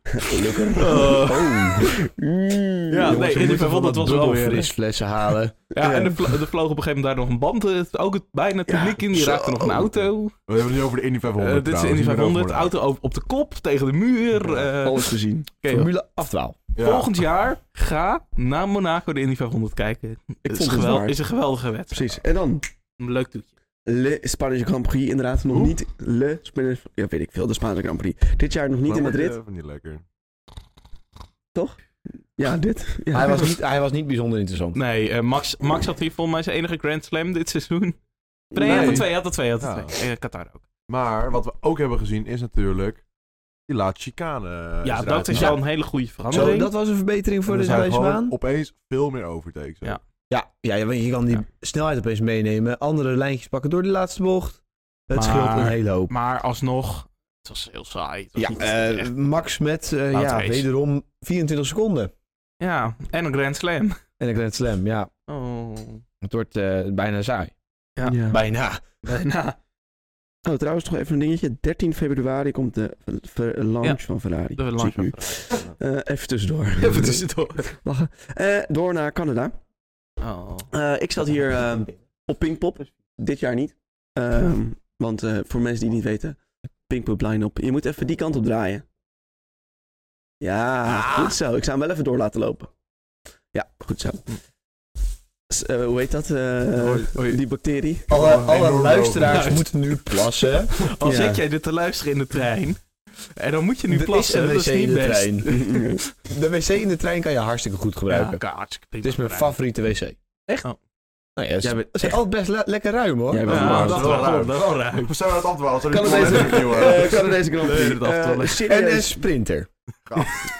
Speaker 1: Gelukkig.
Speaker 4: Eh,
Speaker 1: Mm.
Speaker 4: Ja, nee, Indy 500 was wel weer.
Speaker 3: eh, flessen halen.
Speaker 4: Ja,
Speaker 1: Ja.
Speaker 4: en er, vlo- er vloog op een gegeven moment daar nog een band. eh, Ook het, bijna het publiek in. Die
Speaker 1: zo.
Speaker 4: raakte nog een auto.
Speaker 2: We hebben het nu over de Indy 500
Speaker 4: Eh, dit is
Speaker 2: trouwens,
Speaker 4: in die
Speaker 2: niet meer over
Speaker 4: 500. Auto op, op de kop, tegen de muur. eh,
Speaker 1: Alles gezien.
Speaker 4: oké,
Speaker 3: Formule afdwaal.
Speaker 2: Ja.
Speaker 4: Volgend jaar ga naar Monaco de Indy 500 kijken.
Speaker 1: Ik
Speaker 4: is,
Speaker 1: vond het
Speaker 4: gewel-
Speaker 1: waard.
Speaker 4: is een geweldige wedstrijd.
Speaker 1: Eh, Precies. En dan
Speaker 4: Een leuk toetje.
Speaker 1: Le Spaanse Grand Prix inderdaad nog
Speaker 2: Hoe?
Speaker 1: niet. Le Spaanse... Ja, weet ik veel. De Spaanse Grand Prix. Dit jaar nog niet
Speaker 2: Maar
Speaker 1: in
Speaker 2: wordt,
Speaker 1: Madrid.
Speaker 2: eh, Niet lekker.
Speaker 1: Ja, dit. Ja.
Speaker 3: Hij, was niet, hij was niet bijzonder interessant.
Speaker 4: Nee, eh, Max, Max had hier volgens mij zijn enige Grand Slam dit seizoen. Nee, hij had er
Speaker 2: Nee.
Speaker 4: twee, had er twee, had er
Speaker 2: Ja.
Speaker 4: twee. Eh, Qatar ook.
Speaker 2: Maar wat we ook hebben gezien is natuurlijk die laatste chicane. eh,
Speaker 4: ja,
Speaker 2: eruit
Speaker 4: dat is
Speaker 2: gehaald.
Speaker 4: wel een hele goede verandering.
Speaker 3: Zo, dat was een verbetering voor
Speaker 2: En er
Speaker 3: de
Speaker 2: zijn
Speaker 3: deze
Speaker 2: gewoon
Speaker 3: baan.
Speaker 2: opeens veel meer overtakes. hè.
Speaker 4: Ja.
Speaker 3: Ja, ja, je- je kan die
Speaker 4: Ja.
Speaker 3: snelheid opeens meenemen. Andere lijntjes pakken door die laatste bocht. Het
Speaker 4: Maar-
Speaker 3: scheelt een hele hoop.
Speaker 4: Maar alsnog, het was heel saai. Het was
Speaker 3: Ja,
Speaker 4: niet
Speaker 3: eh,
Speaker 4: echt-
Speaker 3: Max met eh,
Speaker 4: Laat
Speaker 3: ja,
Speaker 4: race.
Speaker 3: wederom 24 seconden.
Speaker 4: ja, en een Grand Slam.
Speaker 3: En een Grand Slam, ja.
Speaker 4: Oh,
Speaker 3: Het wordt eh, bijna saai.
Speaker 4: Ja.
Speaker 1: Ja.
Speaker 3: Bijna.
Speaker 4: bijna.
Speaker 1: Oh, trouwens nog even een dingetje. 13 februari komt de ver- launch
Speaker 4: Ja,
Speaker 1: van Ferrari.
Speaker 4: De
Speaker 1: Zie ik
Speaker 4: lange
Speaker 1: nu. Eh, even tussendoor.
Speaker 4: Even tussendoor.
Speaker 1: Lachen. Eh, door naar Canada.
Speaker 4: Oh.
Speaker 1: Eh, ik zat hier eh, op Pinkpop. Dit jaar niet. Ehm, want eh, voor mensen die het niet weten, Pinkpop line-up. Je moet even die kant op draaien. Ja, goed zo. Ik zou hem wel even door laten lopen. Ja, goed zo. S- eh, hoe heet dat? eh,
Speaker 2: Hoi, hoi.
Speaker 1: Die bacterie.
Speaker 3: Alle,
Speaker 4: Oh,
Speaker 2: Enorm
Speaker 3: alle
Speaker 2: lopen.
Speaker 3: luisteraars
Speaker 4: Juist.
Speaker 3: moeten nu plassen.
Speaker 4: Al
Speaker 1: Ja.
Speaker 4: zit jij dit te luisteren in de trein. En dan moet je nu
Speaker 3: Er is
Speaker 4: plassen.
Speaker 3: een
Speaker 4: Dat is
Speaker 3: wc in
Speaker 4: niet
Speaker 3: de
Speaker 4: best.
Speaker 3: trein. De wc in de trein kan je hartstikke goed gebruiken.
Speaker 4: Ja, hartstikke prima
Speaker 3: Het is mijn
Speaker 4: trein.
Speaker 3: favoriete wc. Echt?
Speaker 4: Oh.
Speaker 3: Nou ja,
Speaker 1: Jij
Speaker 3: ze
Speaker 1: bent
Speaker 3: zijn altijd best le- lekker ruim hoor.
Speaker 1: Jij bent
Speaker 4: Ja,
Speaker 1: waar.
Speaker 4: dat
Speaker 2: is wel
Speaker 4: wel,
Speaker 2: ruim.
Speaker 4: dat wel ruim.
Speaker 2: We zijn aan het afdwalen. sorry,
Speaker 3: Kan
Speaker 2: ik
Speaker 3: het
Speaker 2: wil
Speaker 3: even-
Speaker 2: even opnieuw, hè.
Speaker 1: Eh, Canadese Grand Prix.
Speaker 4: Nee, dat
Speaker 1: Eh,
Speaker 4: afdwalen.
Speaker 3: en een
Speaker 1: serieus.
Speaker 3: sprinter.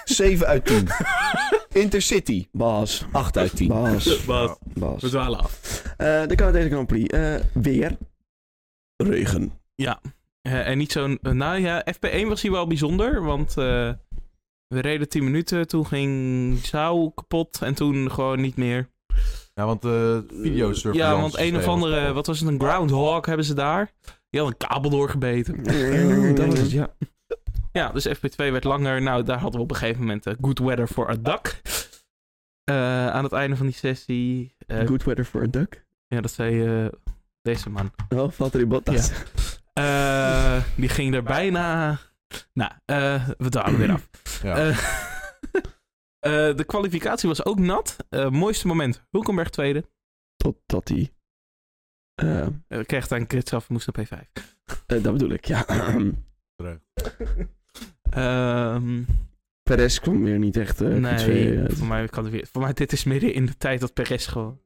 Speaker 3: 7 uit 10. Intercity.
Speaker 1: Bas,
Speaker 3: 8 uit 10.
Speaker 1: Bas,
Speaker 4: Bas, we
Speaker 1: Bas.
Speaker 4: dwalen af.
Speaker 1: Eh de Canadese Grand Prix. eh, weer. Regen.
Speaker 4: Eh, en niet zo'n... eh, nou ja, FP1 was hier wel bijzonder, want... eh, we reden 10 minuten, toen ging Zou kapot en toen gewoon niet meer.
Speaker 2: Ja, want de videosurveillance
Speaker 4: Ja, want een of
Speaker 2: systeem was
Speaker 4: andere,
Speaker 2: kapot.
Speaker 4: wat was het, een groundhog hebben ze daar? Die had een kabel doorgebeten.
Speaker 1: dat was het, ja.
Speaker 4: Ja, dus FP2 werd langer. Nou, daar hadden we op een gegeven moment eh, good weather voor a duck. Eh, aan het einde van die sessie. eh,
Speaker 1: Good weather for a duck.
Speaker 4: Ja, dat zei eh, deze man.
Speaker 1: Oh, Valtteri Bottas.
Speaker 4: Eh, die ging er bijna. Nou, eh, we dwalen weer af.
Speaker 2: Ja.
Speaker 4: Eh, eh, de kwalificatie was ook nat. Eh, mooiste moment: Hulkenberg tweede.
Speaker 1: Totdat hij... eh,
Speaker 4: Eh, kreeg daar een krits af, moest naar P5.
Speaker 1: eh, dat bedoel ik, ja.
Speaker 4: Ehm,
Speaker 1: Perez kwam weer niet echt... eh,
Speaker 4: nee,
Speaker 1: Q2 uit.
Speaker 4: voor mij kan het weer. Voor mij, dit is midden in de tijd dat Perez gewoon.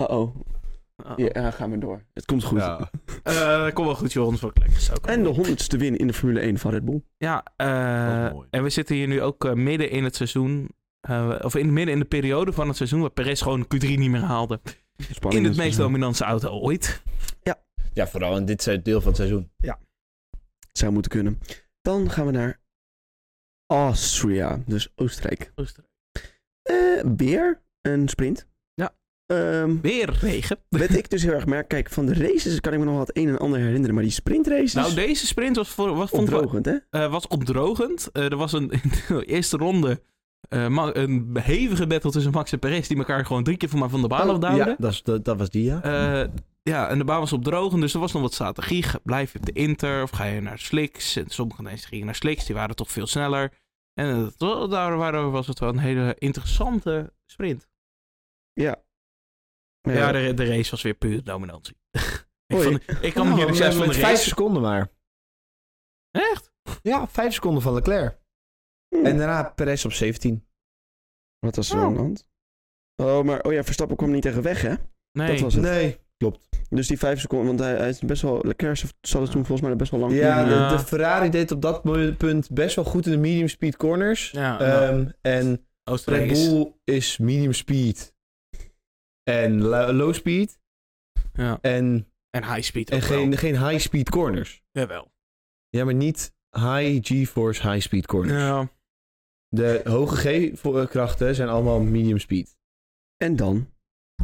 Speaker 1: Uh-oh.
Speaker 4: Oh.
Speaker 1: Ja, eh, ga maar door. Het komt goed.
Speaker 2: Ja.
Speaker 4: Eh, kom wel goed, Johan, voor Klek.
Speaker 1: En de honderdste win in de Formule 1 van Red Bull.
Speaker 4: Ja, eh,
Speaker 2: Dat is mooi.
Speaker 4: en we zitten hier nu ook eh, midden in het seizoen. eh, of in, midden in de periode van het seizoen waar Perez gewoon Q3 niet meer haalde.
Speaker 1: Spannend dus, eh,
Speaker 4: In het meest dominante auto ooit.
Speaker 3: Ja, vooral in dit deel van het seizoen.
Speaker 1: Zou moeten kunnen. Dan gaan we naar... Austria, dus Oostenrijk. Eh, weer een sprint.
Speaker 4: Ja.
Speaker 1: Ehm,
Speaker 4: Weer regen.
Speaker 1: Wat ik dus heel erg merk, kijk, van de races kan ik me nog wel het een en ander herinneren, maar die sprintraces,
Speaker 4: Nou,
Speaker 1: nou,
Speaker 4: deze sprint was, voor, was, vond ik wel-
Speaker 1: opdrogend, hè?
Speaker 4: eh, was opdrogend. Eh, er was een, in de eerste ronde eh, ma- een hevige battle tussen Max en Perez... die elkaar gewoon drie keer van, van de baan
Speaker 1: Oh,
Speaker 4: afduwden.
Speaker 3: Ja, dat, is- dat, dat was die ja.
Speaker 4: Eh, ja, en de baan was op drogen, dus er was nog wat strategie. Ga- Blijf je op de Inter of ga je naar Slicks? En sommige mensen gingen naar Slicks, die waren toch veel sneller. En eh, dat- daar daardoor was het wel een hele interessante sprint. Ja,
Speaker 1: Ja,
Speaker 4: de, de race was weer puur dominantie. ik,
Speaker 1: Oei.
Speaker 4: vond- ik kan me hier
Speaker 3: Oh,
Speaker 4: niet zes
Speaker 3: met
Speaker 4: van de
Speaker 3: vijf
Speaker 4: race...
Speaker 3: seconden maar.
Speaker 4: Echt?
Speaker 3: Ja, vijf seconden van Leclerc. En eh, daarna Perez op 17.
Speaker 1: Hmm. Wat was er aan de hand? Oh, maar oh ja, Verstappen kwam niet tegen weg, hè?
Speaker 4: Nee,
Speaker 1: Dat was het.
Speaker 3: Nee.
Speaker 1: Dus die vijf seconden, want hij, hij is best wel... Leclerc zat het toen volgens mij best wel lang
Speaker 3: Ja,
Speaker 1: in.
Speaker 3: de, de Ferrari deed op dat mo- punt best wel goed in de medium speed corners.
Speaker 4: ja, nou,
Speaker 3: Ehm, en Red
Speaker 4: Oostenrijk is-
Speaker 3: Bull is medium speed. En lo- low speed.
Speaker 4: ja.
Speaker 3: En,
Speaker 4: En high speed
Speaker 3: en
Speaker 4: ook wel.
Speaker 3: geen, geen high speed corners.
Speaker 4: Jawel.
Speaker 3: Ja, maar niet high G-force high speed corners.
Speaker 4: Ja.
Speaker 3: De hoge G-krachten zijn allemaal medium speed.
Speaker 1: En dan,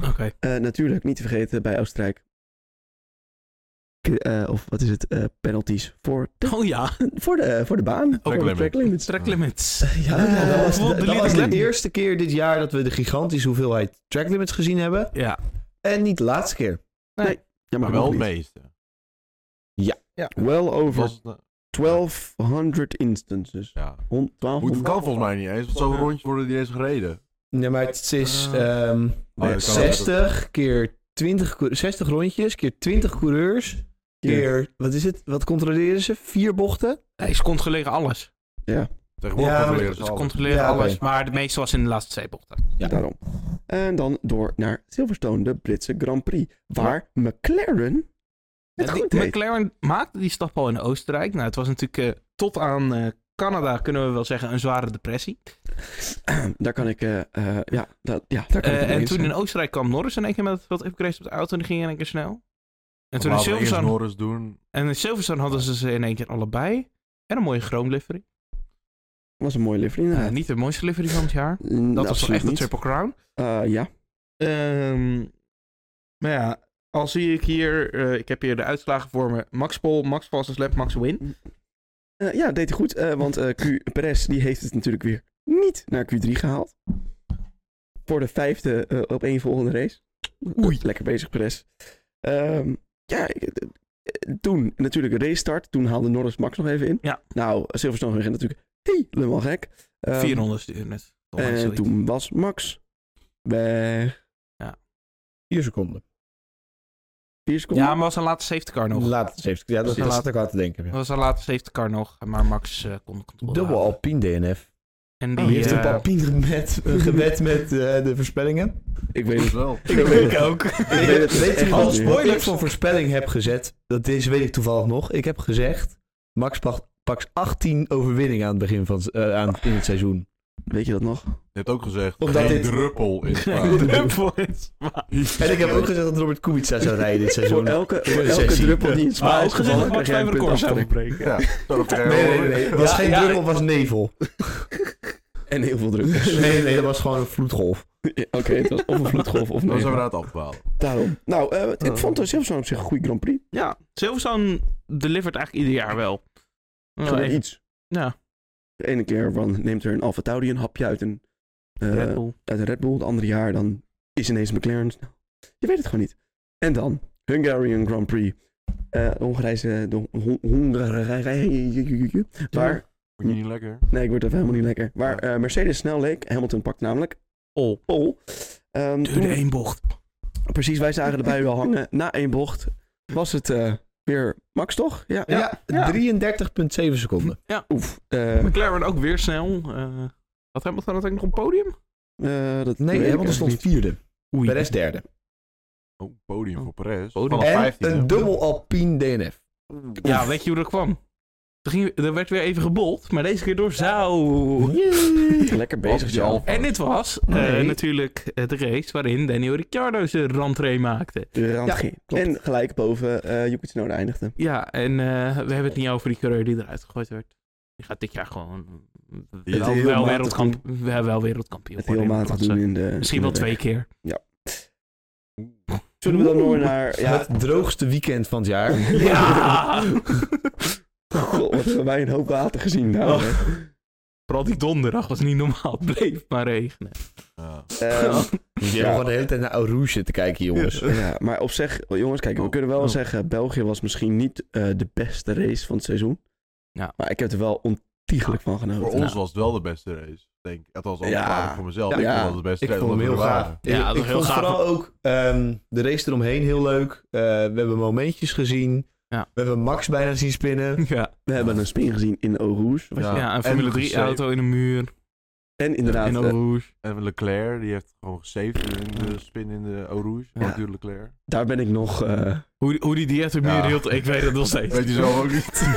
Speaker 4: Oké.
Speaker 1: eh, natuurlijk, niet te vergeten bij Oostenrijk. K- eh, of wat is het? eh, penalties voor de,
Speaker 4: Oh ja.
Speaker 1: voor de, voor de baan. Voor de
Speaker 2: limit.
Speaker 1: track limits.
Speaker 4: Track limits.
Speaker 1: Ja,
Speaker 3: Eh,
Speaker 1: dat was,
Speaker 4: want
Speaker 1: dat,
Speaker 4: de
Speaker 1: dat
Speaker 4: lead
Speaker 1: was de
Speaker 4: lap-
Speaker 3: de
Speaker 1: eer.
Speaker 3: eerste keer dit jaar dat we de gigantische hoeveelheid track limits gezien hebben.
Speaker 4: Ja.
Speaker 3: En niet de laatste keer.
Speaker 1: Ja,
Speaker 2: Maar
Speaker 1: dat
Speaker 2: wel
Speaker 1: mag
Speaker 2: het
Speaker 1: niet.
Speaker 2: meeste.
Speaker 1: Well
Speaker 2: Was
Speaker 1: over
Speaker 2: het nou-
Speaker 1: 1200 instances.
Speaker 2: Ja.
Speaker 1: Hond- 1200.
Speaker 2: Moet, kan volgens mij niet eens, want zo'n rondjes worden die eens gereden.
Speaker 3: Nee, maar het is
Speaker 4: Ah.
Speaker 3: ehm,
Speaker 2: Oh, dat kan
Speaker 3: 60 keer 20, cou- 60 rondjes, keer 20 coureurs, keer, wat is het, wat controleren ze? Vier bochten?
Speaker 4: Nee, ze controleren alles.
Speaker 2: Tegenwoordig
Speaker 3: Ja, maar
Speaker 2: controleren
Speaker 4: Ze
Speaker 2: ze alles.
Speaker 4: controleren
Speaker 3: Ja, oké.
Speaker 4: alles. Maar de meeste was in de laatste twee bochten.
Speaker 3: Ja.
Speaker 1: Daarom. En dan door naar Silverstone, de Britse Grand Prix. Waar McLaren het
Speaker 4: En die-
Speaker 1: goed deed.
Speaker 4: McLaren maakte die stap al in Oostenrijk. Nou, het was natuurlijk eh, tot aan eh, Canada, kunnen we wel zeggen, een zware depressie.
Speaker 1: daar kan ik, eh, eh, ja, dat, ja, daar kan
Speaker 4: Eh,
Speaker 1: ik het mee
Speaker 4: en
Speaker 1: eens
Speaker 4: toen
Speaker 1: zijn.
Speaker 4: in Oostenrijk kwam Norris in één keer met wat upgrades op de auto en die ging in één keer snel. En toen in
Speaker 2: Laten we eerst
Speaker 4: Silverstone,
Speaker 2: Norris doen.
Speaker 4: en in Silverstone hadden ze ze in één keer allebei. En een mooie chrome livery.
Speaker 1: was een mooie livery
Speaker 4: Eh,
Speaker 1: inderdaad.
Speaker 4: niet de mooiste livery van het jaar.
Speaker 1: Mm,
Speaker 4: Dat was toch
Speaker 1: absoluut
Speaker 4: echt een
Speaker 1: niet.
Speaker 4: triple crown.
Speaker 1: Eh, ja,
Speaker 4: Ehm, maar ja, al zie ik hier, eh, ik heb hier de uitslagen voor me. Max Pol, Max Fastest Lap, Max Win.
Speaker 1: Eh, ja, deed hij goed. eh, want eh Q Perez die heeft het natuurlijk weer niet naar Q3 gehaald. Voor de vijfde eh, op één volgende race. Oei. Lekker bezig, Perez. Ehm, ja, ik- eh, eh, toen natuurlijk een race start. Toen haalde Norris Max nog even in.
Speaker 4: Ja.
Speaker 1: Nou, Silverstone ging natuurlijk helemaal gek. Ehm,
Speaker 4: 400ste unit.
Speaker 1: En toen was Max weg.
Speaker 3: Vier seconden.
Speaker 1: Vier seconden.
Speaker 4: Ja, maar was een late safety car nog.
Speaker 3: Laat het even. Ja, dat
Speaker 4: Precies.
Speaker 3: is laat ik aan te denken.
Speaker 4: Dat
Speaker 3: ja.
Speaker 4: was een late safety car nog, maar Max eh, kon de controle
Speaker 3: Dubbel
Speaker 4: houden.
Speaker 3: Alpine DNF.
Speaker 4: En
Speaker 3: Die
Speaker 4: die,
Speaker 3: heeft
Speaker 4: eh,
Speaker 3: een papien gewet, gewet met eh, de voorspellingen.
Speaker 1: Ik weet het.
Speaker 2: wel.
Speaker 1: Ik weet het.
Speaker 4: ook.
Speaker 1: Ik weet het.
Speaker 3: Weet
Speaker 1: echt
Speaker 3: je wat
Speaker 1: niet.
Speaker 3: wat ik voor voorspelling heb gezet? Dat deze weet ik toevallig nog. Ik heb gezegd, Max pakt, pakt 18 overwinningen aan het begin van, eh, aan, in het seizoen.
Speaker 1: Weet je dat nog?
Speaker 2: Je hebt ook gezegd,
Speaker 3: Omdat
Speaker 2: geen
Speaker 3: dit-
Speaker 2: druppel in
Speaker 4: Dubbel is waar.
Speaker 3: En ik heb ook gezegd dat Robert Kubica zou rijden dit
Speaker 1: Voor
Speaker 3: seizoen.
Speaker 1: elke, voor
Speaker 3: een
Speaker 1: elke
Speaker 3: sessie.
Speaker 1: druppel die in Spa
Speaker 4: Maar
Speaker 1: is
Speaker 4: ook gezegd
Speaker 1: gevallen,
Speaker 4: dat
Speaker 1: krijg
Speaker 4: Max
Speaker 1: jij
Speaker 4: Weber
Speaker 1: een
Speaker 4: de
Speaker 1: punt
Speaker 4: koers zou
Speaker 1: aftrek.
Speaker 4: verbreken.
Speaker 2: Ja, zo dat
Speaker 3: Nee, nee, nee. Het was
Speaker 4: Ja,
Speaker 3: geen
Speaker 4: ja,
Speaker 3: druppel,
Speaker 4: ik-
Speaker 3: het was nevel.
Speaker 1: En heel veel druk.
Speaker 3: Nee, nee, dat was gewoon een vloedgolf.
Speaker 1: Ja, Oké, het was of een vloedgolf of
Speaker 2: Dan
Speaker 1: nee.
Speaker 2: zijn we naar het afdwalen.
Speaker 1: Daarom. Nou, eh, het- ik vond het zelfs op zich een goede Grand Prix.
Speaker 4: Ja, Silverstone delivert eigenlijk ieder jaar wel. Nou,
Speaker 1: Gewoon
Speaker 4: even-
Speaker 1: iets.
Speaker 4: Ja,
Speaker 1: De ene keer van, neemt er een Alfa Tauri een hapje uit een, eh,
Speaker 4: Red Bull.
Speaker 1: uit een Red Bull. Het andere jaar dan is ineens McLaren. snel. Je weet het gewoon niet. En dan Hungarian Grand Prix. Eh Hongarijse... De Hon- Hongarije... Waar...
Speaker 2: Vind je niet lekker?
Speaker 1: Nee, ik word er helemaal niet lekker. Waar eh, Mercedes snel leek. Hamilton pakt namelijk...
Speaker 4: Pol.
Speaker 1: Pol. Ehm,
Speaker 4: Duurde
Speaker 1: toen-
Speaker 4: één bocht.
Speaker 1: Precies, wij zagen erbij wel hangen. Na één bocht was het eh, weer Max, toch? Ja.
Speaker 3: Ja,
Speaker 4: ja.
Speaker 3: 33,7 seconden.
Speaker 1: Oef. eh,
Speaker 4: McLaren ook weer snel. Eh had Hamilton uiteindelijk nog een podium?
Speaker 1: eh, dat weet ik
Speaker 3: Nee, want er
Speaker 1: eigenlijk
Speaker 3: stond
Speaker 1: niet.
Speaker 3: vierde.
Speaker 4: Oei.
Speaker 3: Perez derde.
Speaker 2: Oh, podium voor Perez.
Speaker 4: Podium.
Speaker 2: Vanaf
Speaker 3: En
Speaker 2: 15e.
Speaker 3: een dubbel Alpine DNF.
Speaker 4: Ja, weet je hoe dat kwam? Er, ging, er werd weer even gebold, maar deze keer door Zou.
Speaker 1: Lekker
Speaker 2: Wat
Speaker 1: bezig,
Speaker 2: is
Speaker 1: Jan.
Speaker 2: Alfa?
Speaker 4: En dit was eh,
Speaker 3: Nee.
Speaker 4: natuurlijk eh, de race waarin Daniel Ricciardo zijn rentree maakte.
Speaker 1: Rand
Speaker 3: Ja,
Speaker 1: ging.
Speaker 3: klopt.
Speaker 1: En gelijk boven eh Yuki Tsunoda eindigde.
Speaker 4: Ja, en eh, we hebben het niet over die coureur die eruit gegooid werd. Die gaat dit jaar gewoon
Speaker 2: is
Speaker 4: wel,
Speaker 1: heel
Speaker 4: wel,
Speaker 1: matig
Speaker 4: wereldkamp, wel, wel wereldkampioen
Speaker 1: Het
Speaker 4: worden
Speaker 1: heel
Speaker 4: in de
Speaker 1: matig
Speaker 4: klasse.
Speaker 1: doen in de...
Speaker 4: Misschien wel twee keer.
Speaker 1: Zullen we dan door naar... Ja,
Speaker 3: Het droogste weekend van het jaar.
Speaker 4: Ja!
Speaker 1: god, wat hebben wij een hoop water gezien. Nou,
Speaker 4: Oh.
Speaker 1: hè.
Speaker 4: Vooral die donderdag was niet normaal. Het bleef maar regenen.
Speaker 2: Ja.
Speaker 1: Ehm,
Speaker 3: Je hebt gewoon de hele tijd naar Aurouge zitten kijken, jongens.
Speaker 1: ja, maar op zich... Jongens, kijk, we
Speaker 4: Oh.
Speaker 1: kunnen wel
Speaker 4: Oh.
Speaker 1: zeggen... België was misschien niet eh, de beste race van het seizoen.
Speaker 4: Ja.
Speaker 1: Maar ik heb er wel ontiegelijk van
Speaker 2: Voor
Speaker 1: genoten.
Speaker 2: ons was het wel de beste race. Denk, ik. althans,
Speaker 1: nou. Ja.
Speaker 2: ja. voor mezelf.
Speaker 1: Ja.
Speaker 2: Ik
Speaker 1: Ja.
Speaker 2: vond dat het beste
Speaker 3: Ik
Speaker 2: race.
Speaker 3: vond hem
Speaker 2: omdat
Speaker 3: heel
Speaker 2: we er
Speaker 3: gaaf.
Speaker 2: waren.
Speaker 4: Ja, dat was
Speaker 3: ik ik
Speaker 4: heel
Speaker 3: vond
Speaker 4: gaaf.
Speaker 3: vooral ook ehm, de race eromheen heel leuk. Eh, we hebben momentjes gezien.
Speaker 4: Ja.
Speaker 3: We hebben Max bijna zien spinnen.
Speaker 4: Ja,
Speaker 1: We hebben een spin gezien in Eau Rouge.
Speaker 2: Ja.
Speaker 4: ja een
Speaker 2: en
Speaker 4: Formule 3
Speaker 2: gesaved.
Speaker 4: auto in een muur.
Speaker 1: En inderdaad,
Speaker 4: In
Speaker 1: eh,
Speaker 4: Eau Rouge.
Speaker 2: En Leclerc, die heeft gewoon gesaved in de spin in de Eau Rouge.
Speaker 4: Ja.
Speaker 2: Arthur Leclerc.
Speaker 1: daar ben ik nog... eh,
Speaker 4: Hoe, hoe die die uit de muur
Speaker 2: Ja.
Speaker 4: hield, ik weet het nog steeds.
Speaker 2: Weet je zo ook niet.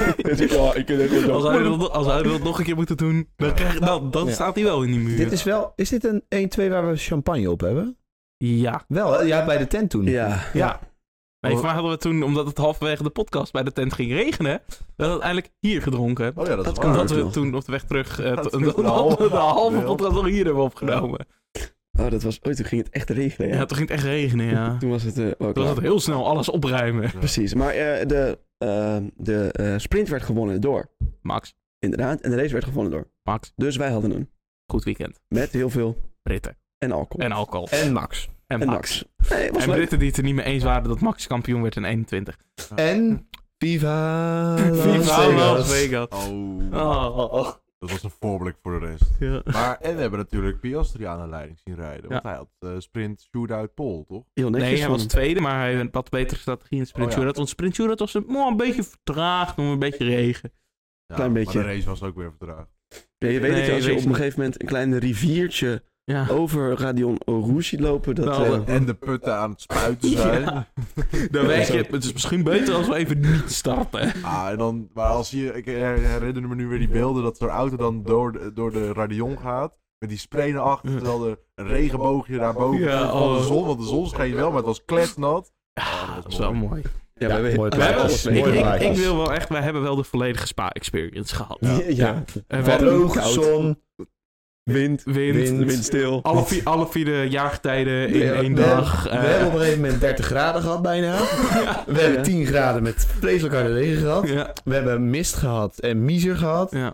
Speaker 1: ja, ik kan echt wel zo-
Speaker 4: Als hij, dat, als hij dat nog een keer moet doen, dan, krijg, dan, dan
Speaker 3: Ja.
Speaker 4: staat hij wel in die muur.
Speaker 3: Dit is wel... Is dit een 1-2 waar we champagne op hebben?
Speaker 4: Ja.
Speaker 3: Wel, hè? ja, bij de tent toen.
Speaker 1: Ja,
Speaker 3: Ja.
Speaker 4: Nee, voor mij hadden we toen, omdat het halverwege de podcast bij de tent ging regenen, dat we uiteindelijk hier gedronken hebben.
Speaker 2: Oh ja, dat,
Speaker 1: Dat
Speaker 2: is
Speaker 1: kan
Speaker 2: waar.
Speaker 4: Omdat
Speaker 1: ook
Speaker 4: we
Speaker 1: nog.
Speaker 4: toen op de weg terug eh,
Speaker 2: Dat
Speaker 4: to- dat-
Speaker 2: is de
Speaker 4: dat we de halve
Speaker 2: halve.
Speaker 4: podcast nog hier hebben opgenomen.
Speaker 1: oh, dat was ooit. toen ging het echt regenen.
Speaker 4: Ja,
Speaker 1: Ja.
Speaker 4: toen ging het echt regenen, ja.
Speaker 1: Toen was het... eh, oh,
Speaker 4: Toen
Speaker 1: klaar.
Speaker 4: was het heel snel alles opruimen.
Speaker 1: Precies, maar eh, de, eh, de eh, sprint werd gewonnen door,
Speaker 4: Max,
Speaker 1: inderdaad. En de race werd gewonnen door.
Speaker 4: Max,
Speaker 1: Dus wij hadden hem.
Speaker 4: goed weekend.
Speaker 1: Met heel veel
Speaker 4: Britten.
Speaker 1: en alcohol.
Speaker 4: En alcohol. En,
Speaker 3: En Max.
Speaker 1: En
Speaker 4: Max.
Speaker 1: Max. Nee, was
Speaker 4: En
Speaker 1: leuk.
Speaker 4: Britten die het er niet mee eens waren dat Max kampioen werd in 21.
Speaker 3: En... Viva Las
Speaker 4: Viva
Speaker 3: Vegas.
Speaker 4: Las Vegas.
Speaker 2: Oh,
Speaker 4: Oh, oh, oh.
Speaker 2: dat was een voorblik voor de rest.
Speaker 4: Ja.
Speaker 2: Maar, en we hebben natuurlijk Piastri aan de leiding zien rijden. Want hij had eh, sprint, shootout, pole, toch?
Speaker 1: Heel netjes
Speaker 4: Nee, hij
Speaker 1: van
Speaker 4: was
Speaker 1: hem.
Speaker 4: tweede, maar hij had wat betere strategie in sprint
Speaker 2: Oh, ja.
Speaker 4: shootout. Want sprint shootout was een, oh, een beetje vertraagd, om een beetje regen.
Speaker 2: Ja,
Speaker 1: Klein beetje.
Speaker 2: Maar de race was ook weer vertraagd.
Speaker 1: Ja, je weet dat
Speaker 4: Nee,
Speaker 1: je als je
Speaker 4: weet
Speaker 1: op een
Speaker 4: niet.
Speaker 1: gegeven moment een klein riviertje
Speaker 4: Ja.
Speaker 1: over Radion Rouge ziet lopen, dat...
Speaker 4: Nou,
Speaker 1: eh,
Speaker 4: dat-
Speaker 2: En de putten aan het spuiten zijn.
Speaker 4: Ja. Dan weet je, het is misschien beter als we even niet starten.
Speaker 2: Ah, en dan, maar als je, ik herinner me nu weer die beelden dat zo'n auto dan door de, door de radion gaat. Met die spray naar achter, terwijl er een regenboogje naar boven
Speaker 4: Ja,
Speaker 2: komt van
Speaker 4: oh.
Speaker 2: de zon. Want de zon scheen wel, maar het was kletsnat. Ah, Ja,
Speaker 4: Dat is wel mooi.
Speaker 1: ja,
Speaker 3: Ja,
Speaker 1: we hebben-
Speaker 3: mooi
Speaker 1: we
Speaker 4: We
Speaker 3: plaatje.
Speaker 1: hebben
Speaker 4: hebben,
Speaker 1: alles
Speaker 4: ik,
Speaker 1: mee.
Speaker 4: ik, ik wil wel echt, wij hebben wel de volledige spa-experience gehad.
Speaker 1: Ja,
Speaker 4: En
Speaker 1: ja.
Speaker 4: we hebben
Speaker 1: Droog,
Speaker 3: Droog,
Speaker 1: koud.
Speaker 3: zon.
Speaker 1: Wind,
Speaker 4: wind,
Speaker 1: wind, stil.
Speaker 4: Alle, vier, alle vier jaargetijden in
Speaker 3: Ja,
Speaker 4: één
Speaker 3: we
Speaker 4: dag.
Speaker 3: hebben-
Speaker 4: eh,
Speaker 3: we hebben op een gegeven moment 30 graden gehad bijna. We hebben
Speaker 1: Ja.
Speaker 3: 10 graden met vreselijk harde regen gehad.
Speaker 4: ja,
Speaker 3: We hebben mist gehad en miezer gehad.
Speaker 4: ja.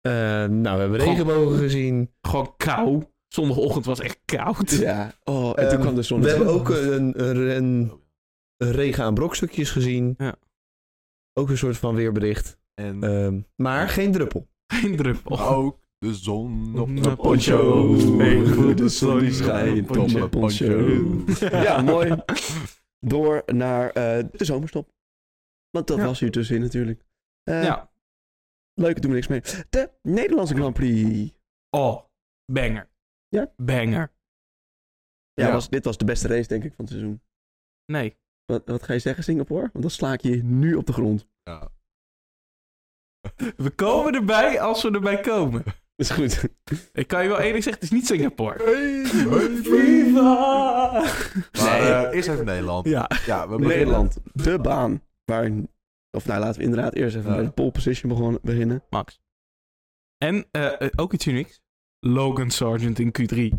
Speaker 3: Eh, nou, we hebben
Speaker 4: Gewoon-
Speaker 3: regenbogen gezien.
Speaker 4: Gewoon kou. Zondagochtend was echt koud.
Speaker 1: Ja, oh, en toen
Speaker 3: Ehm,
Speaker 1: kwam de zon.
Speaker 3: We hebben ook een, een, een- een regen aan brokstukjes gezien.
Speaker 4: Ja.
Speaker 3: Ook een soort van weerbericht.
Speaker 2: En
Speaker 3: Ehm, maar geen druppel.
Speaker 4: Geen druppel.
Speaker 2: ook de zon op
Speaker 4: Een
Speaker 2: mijn
Speaker 4: Eh, poncho.
Speaker 2: poncho.
Speaker 4: Ik voel
Speaker 1: de zon die
Speaker 2: schijnt
Speaker 1: op
Speaker 2: mijn poncho.
Speaker 1: Ja, mooi. Door naar eh, de zomerstop. Want dat
Speaker 4: Ja.
Speaker 1: was hier tussenin natuurlijk. Eh,
Speaker 4: Ja.
Speaker 1: Leuk, doen we niks mee. De Nederlandse Grand Prix.
Speaker 4: Oh, banger.
Speaker 1: Ja?
Speaker 4: Banger.
Speaker 1: Ja,
Speaker 2: Ja.
Speaker 1: Was, dit was de beste race denk ik van het seizoen.
Speaker 4: Nee.
Speaker 1: Wat, wat ga je zeggen Singapore? Want dan sla ik je nu op de grond.
Speaker 2: Ja.
Speaker 4: We komen erbij als we erbij komen.
Speaker 1: Is goed.
Speaker 4: Ik kan je wel eerlijk zeggen, het is niet Singapore.
Speaker 2: Maar
Speaker 1: Nee.
Speaker 2: eh, eerst even Nederland.
Speaker 4: Ja.
Speaker 2: Ja, we beginnen-
Speaker 1: Nederland, de baan. Waar, of nou laten we inderdaad eerst even
Speaker 2: Ja.
Speaker 1: bij de pole position begon- beginnen.
Speaker 4: Max. En eh, eh, ook iets unieks. Logan Sargent in Q3.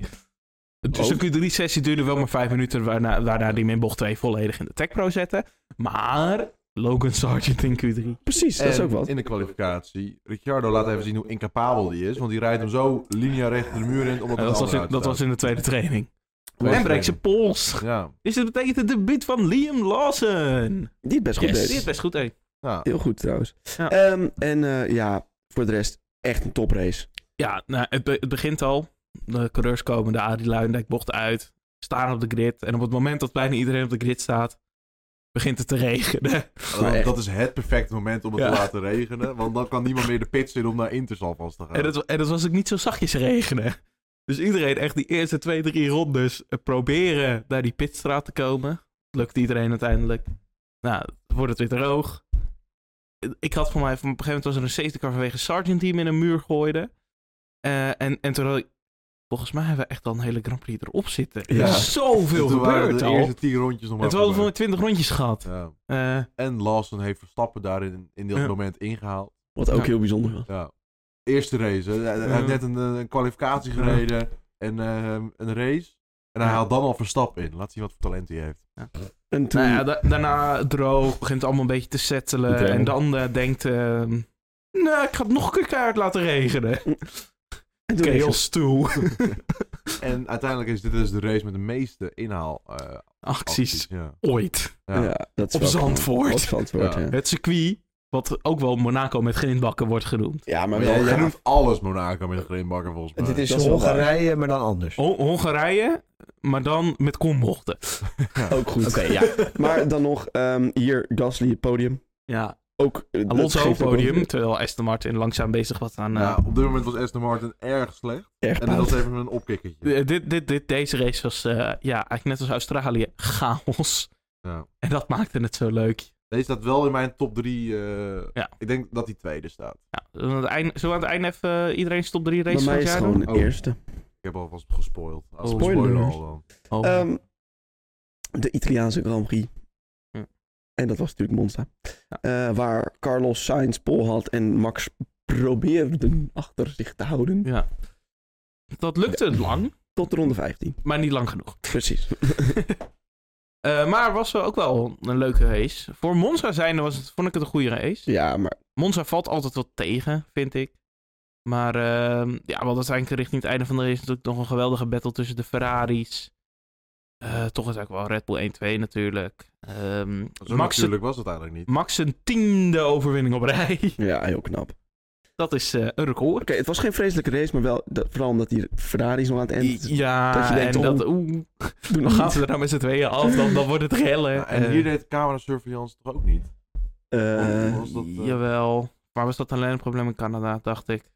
Speaker 4: Dus
Speaker 1: Oh.
Speaker 4: de Q3-sessie duurde wel maar vijf minuten, waarna, waarna die min bocht 2 volledig in de Tech Pro zette. Maar Logan Sargent in Q3.
Speaker 1: Precies, dat is
Speaker 2: En
Speaker 1: ook wat.
Speaker 2: in de kwalificatie. Ricciardo laat even zien hoe incapabel die is. Want die rijdt hem zo linea recht de muur in.
Speaker 4: En
Speaker 2: Omdat
Speaker 4: Eh,
Speaker 2: een
Speaker 4: dat, was
Speaker 2: ander
Speaker 4: in, dat was
Speaker 2: uitstaat.
Speaker 4: in de tweede training.
Speaker 2: Tweede
Speaker 4: en breekt zijn pols.
Speaker 2: Ja, nou,
Speaker 4: Dus dat betekent het debuut van Liam Lawson.
Speaker 1: Die het best goed
Speaker 4: Yes.
Speaker 1: deed.
Speaker 4: Die is best goed, hé.
Speaker 2: ja.
Speaker 1: Heel goed trouwens.
Speaker 4: Ja.
Speaker 1: Ehm, en eh, ja, voor de rest echt een toprace.
Speaker 4: Ja, nou, het, be- het begint al. De coureurs komen de Arie Luijendijk bocht uit. Staan op de grid. En op het moment dat bijna iedereen op de grid staat, begint het te regenen.
Speaker 1: Maar
Speaker 2: Dat,
Speaker 1: echt.
Speaker 2: dat is het perfecte moment om het
Speaker 4: Ja.
Speaker 2: te laten regenen. Want dan kan niemand meer de pits in om naar Inters alvast te gaan.
Speaker 4: En, dat, en dat was ook niet zo zachtjes regenen. Dus iedereen echt die eerste twee, drie rondes eh, proberen naar die pitstraat te komen. Lukt iedereen uiteindelijk. Nou, wordt het weer droog. Ik had voor mij, op een gegeven moment was er een safety car vanwege Sergeant die hem in een muur gooide. Eh, en, en toen had ik- volgens mij hebben we echt al een hele Grand Prix erop zitten. Er
Speaker 1: Ja.
Speaker 4: is zoveel
Speaker 2: Dus Toen waren
Speaker 4: gebeurd
Speaker 2: de
Speaker 4: al.
Speaker 2: eerste tien rondjes nog
Speaker 4: En
Speaker 2: maar
Speaker 4: toen hadden we
Speaker 2: gebeurd.
Speaker 4: maar twintig rondjes gehad.
Speaker 2: Ja.
Speaker 4: Eh,
Speaker 2: En Lawson heeft Verstappen daarin in dat
Speaker 4: Ja.
Speaker 2: moment ingehaald.
Speaker 1: Wat ook
Speaker 4: Ja.
Speaker 1: heel bijzonder was.
Speaker 2: Ja. Eerste race. hè. Hij hij
Speaker 4: Ja.
Speaker 2: heeft net een, eh, een kwalificatie
Speaker 4: Ja.
Speaker 2: gereden en ehm, een race. En hij
Speaker 4: Ja.
Speaker 2: haalt dan al Verstappen in. Laat zien wat voor talent hij heeft.
Speaker 1: En toen,
Speaker 4: nou ja, da- daarna droog, begint het allemaal een beetje te settelen.
Speaker 3: Oké.
Speaker 4: En dan eh, denkt, ehm, nou, ik ga het nog een keer keihard laten regenen.
Speaker 1: en toen
Speaker 4: Heel
Speaker 1: is
Speaker 4: stoel.
Speaker 2: En uiteindelijk is dit dus de race met de meeste inhaal. eh, acties,
Speaker 4: Acties
Speaker 2: ja.
Speaker 4: ooit.
Speaker 1: het- ja, dat is
Speaker 4: Op
Speaker 1: wel-
Speaker 4: Zandvoort.
Speaker 1: Op Zandvoort,
Speaker 2: Ja.
Speaker 1: ja.
Speaker 4: Het circuit Wat ook wel Monaco met grindbakken wordt genoemd.
Speaker 1: Ja, maar
Speaker 2: Maar
Speaker 1: wel
Speaker 2: jij, jij
Speaker 1: gaaf.
Speaker 2: noemt alles Monaco met een grindbakker volgens mij.
Speaker 3: Dit is
Speaker 1: dat is wel waar.
Speaker 3: Hongarije, maar dan anders.
Speaker 4: Ho- Hongarije, maar dan met kombochten.
Speaker 1: Ook goed.
Speaker 4: Oké, ja.
Speaker 1: Maar dan nog, ehm, hier Gasly het podium.
Speaker 4: ja.
Speaker 1: Ook, eh, dat
Speaker 4: Alonso
Speaker 1: geeft ook
Speaker 4: podium,
Speaker 1: een-
Speaker 4: terwijl Aston Martin langzaam bezig was aan... eh,
Speaker 2: Ja, op dit moment was Aston Martin erg slecht.
Speaker 1: Erg
Speaker 2: En dat
Speaker 1: paard.
Speaker 2: was even een opkikkertje.
Speaker 4: eh, dit, dit, dit, deze race was eh, ja, eigenlijk net als Australië chaos.
Speaker 2: Ja.
Speaker 4: En dat maakte het zo leuk.
Speaker 2: Deze staat wel in mijn top 3.
Speaker 4: Ja.
Speaker 2: Ik denk dat die tweede staat.
Speaker 4: Ja, zullen we aan het eind- zullen we aan het einde even eh, iedereen stop drie
Speaker 1: Bij
Speaker 4: races van
Speaker 1: mij
Speaker 4: het
Speaker 1: is
Speaker 4: jaar
Speaker 1: het gewoon
Speaker 4: doen?
Speaker 1: de
Speaker 2: Oh.
Speaker 1: eerste.
Speaker 2: Ik heb alvast gespoild. Als
Speaker 4: Oh.
Speaker 2: we spoilen
Speaker 1: Spoilers.
Speaker 2: al dan.
Speaker 4: Oh.
Speaker 1: Ehm, de Italiaanse Grand Prix.
Speaker 4: Hm.
Speaker 1: En dat was natuurlijk Monza. Eh, waar Carlos Sainz pol had en Max probeerden achter zich te houden.
Speaker 4: ja. Dat lukte lang,
Speaker 1: Tot ronde 15.
Speaker 4: maar niet lang genoeg.
Speaker 1: Precies.
Speaker 4: Eh, maar was wel ook wel een leuke race. Voor Monza zijnde was het, vond ik het een goede race.
Speaker 1: Ja, maar
Speaker 4: Monza valt altijd wat tegen, vind ik. Maar ehm ja, wel dat is eigenlijk richting het einde van de race natuurlijk nog een geweldige battle tussen de Ferraris. Eh, toch is eigenlijk wel Red Bull 1-2 natuurlijk. Ehm
Speaker 2: Zo
Speaker 4: Max,
Speaker 2: natuurlijk was het eigenlijk niet.
Speaker 4: Max een tiende overwinning op rij.
Speaker 1: ja, heel knap. Oké,
Speaker 4: Dat is eh, een record.
Speaker 1: het was geen vreselijke race, maar wel dat- vooral omdat die Ferrari's nog aan het eind
Speaker 4: ja,
Speaker 1: dat je denkt,
Speaker 4: en
Speaker 1: oh,
Speaker 4: dat, oeh,
Speaker 1: doen.
Speaker 4: dan gaan ze er nou met z'n tweeën af, dan, dan wordt het Eh, gillen.
Speaker 2: Ja, en hier deed camera surveillance toch ook niet?
Speaker 1: Eh,
Speaker 2: was dat, eh,
Speaker 4: Jawel. Maar was dat alleen een probleem in Canada, dacht ik.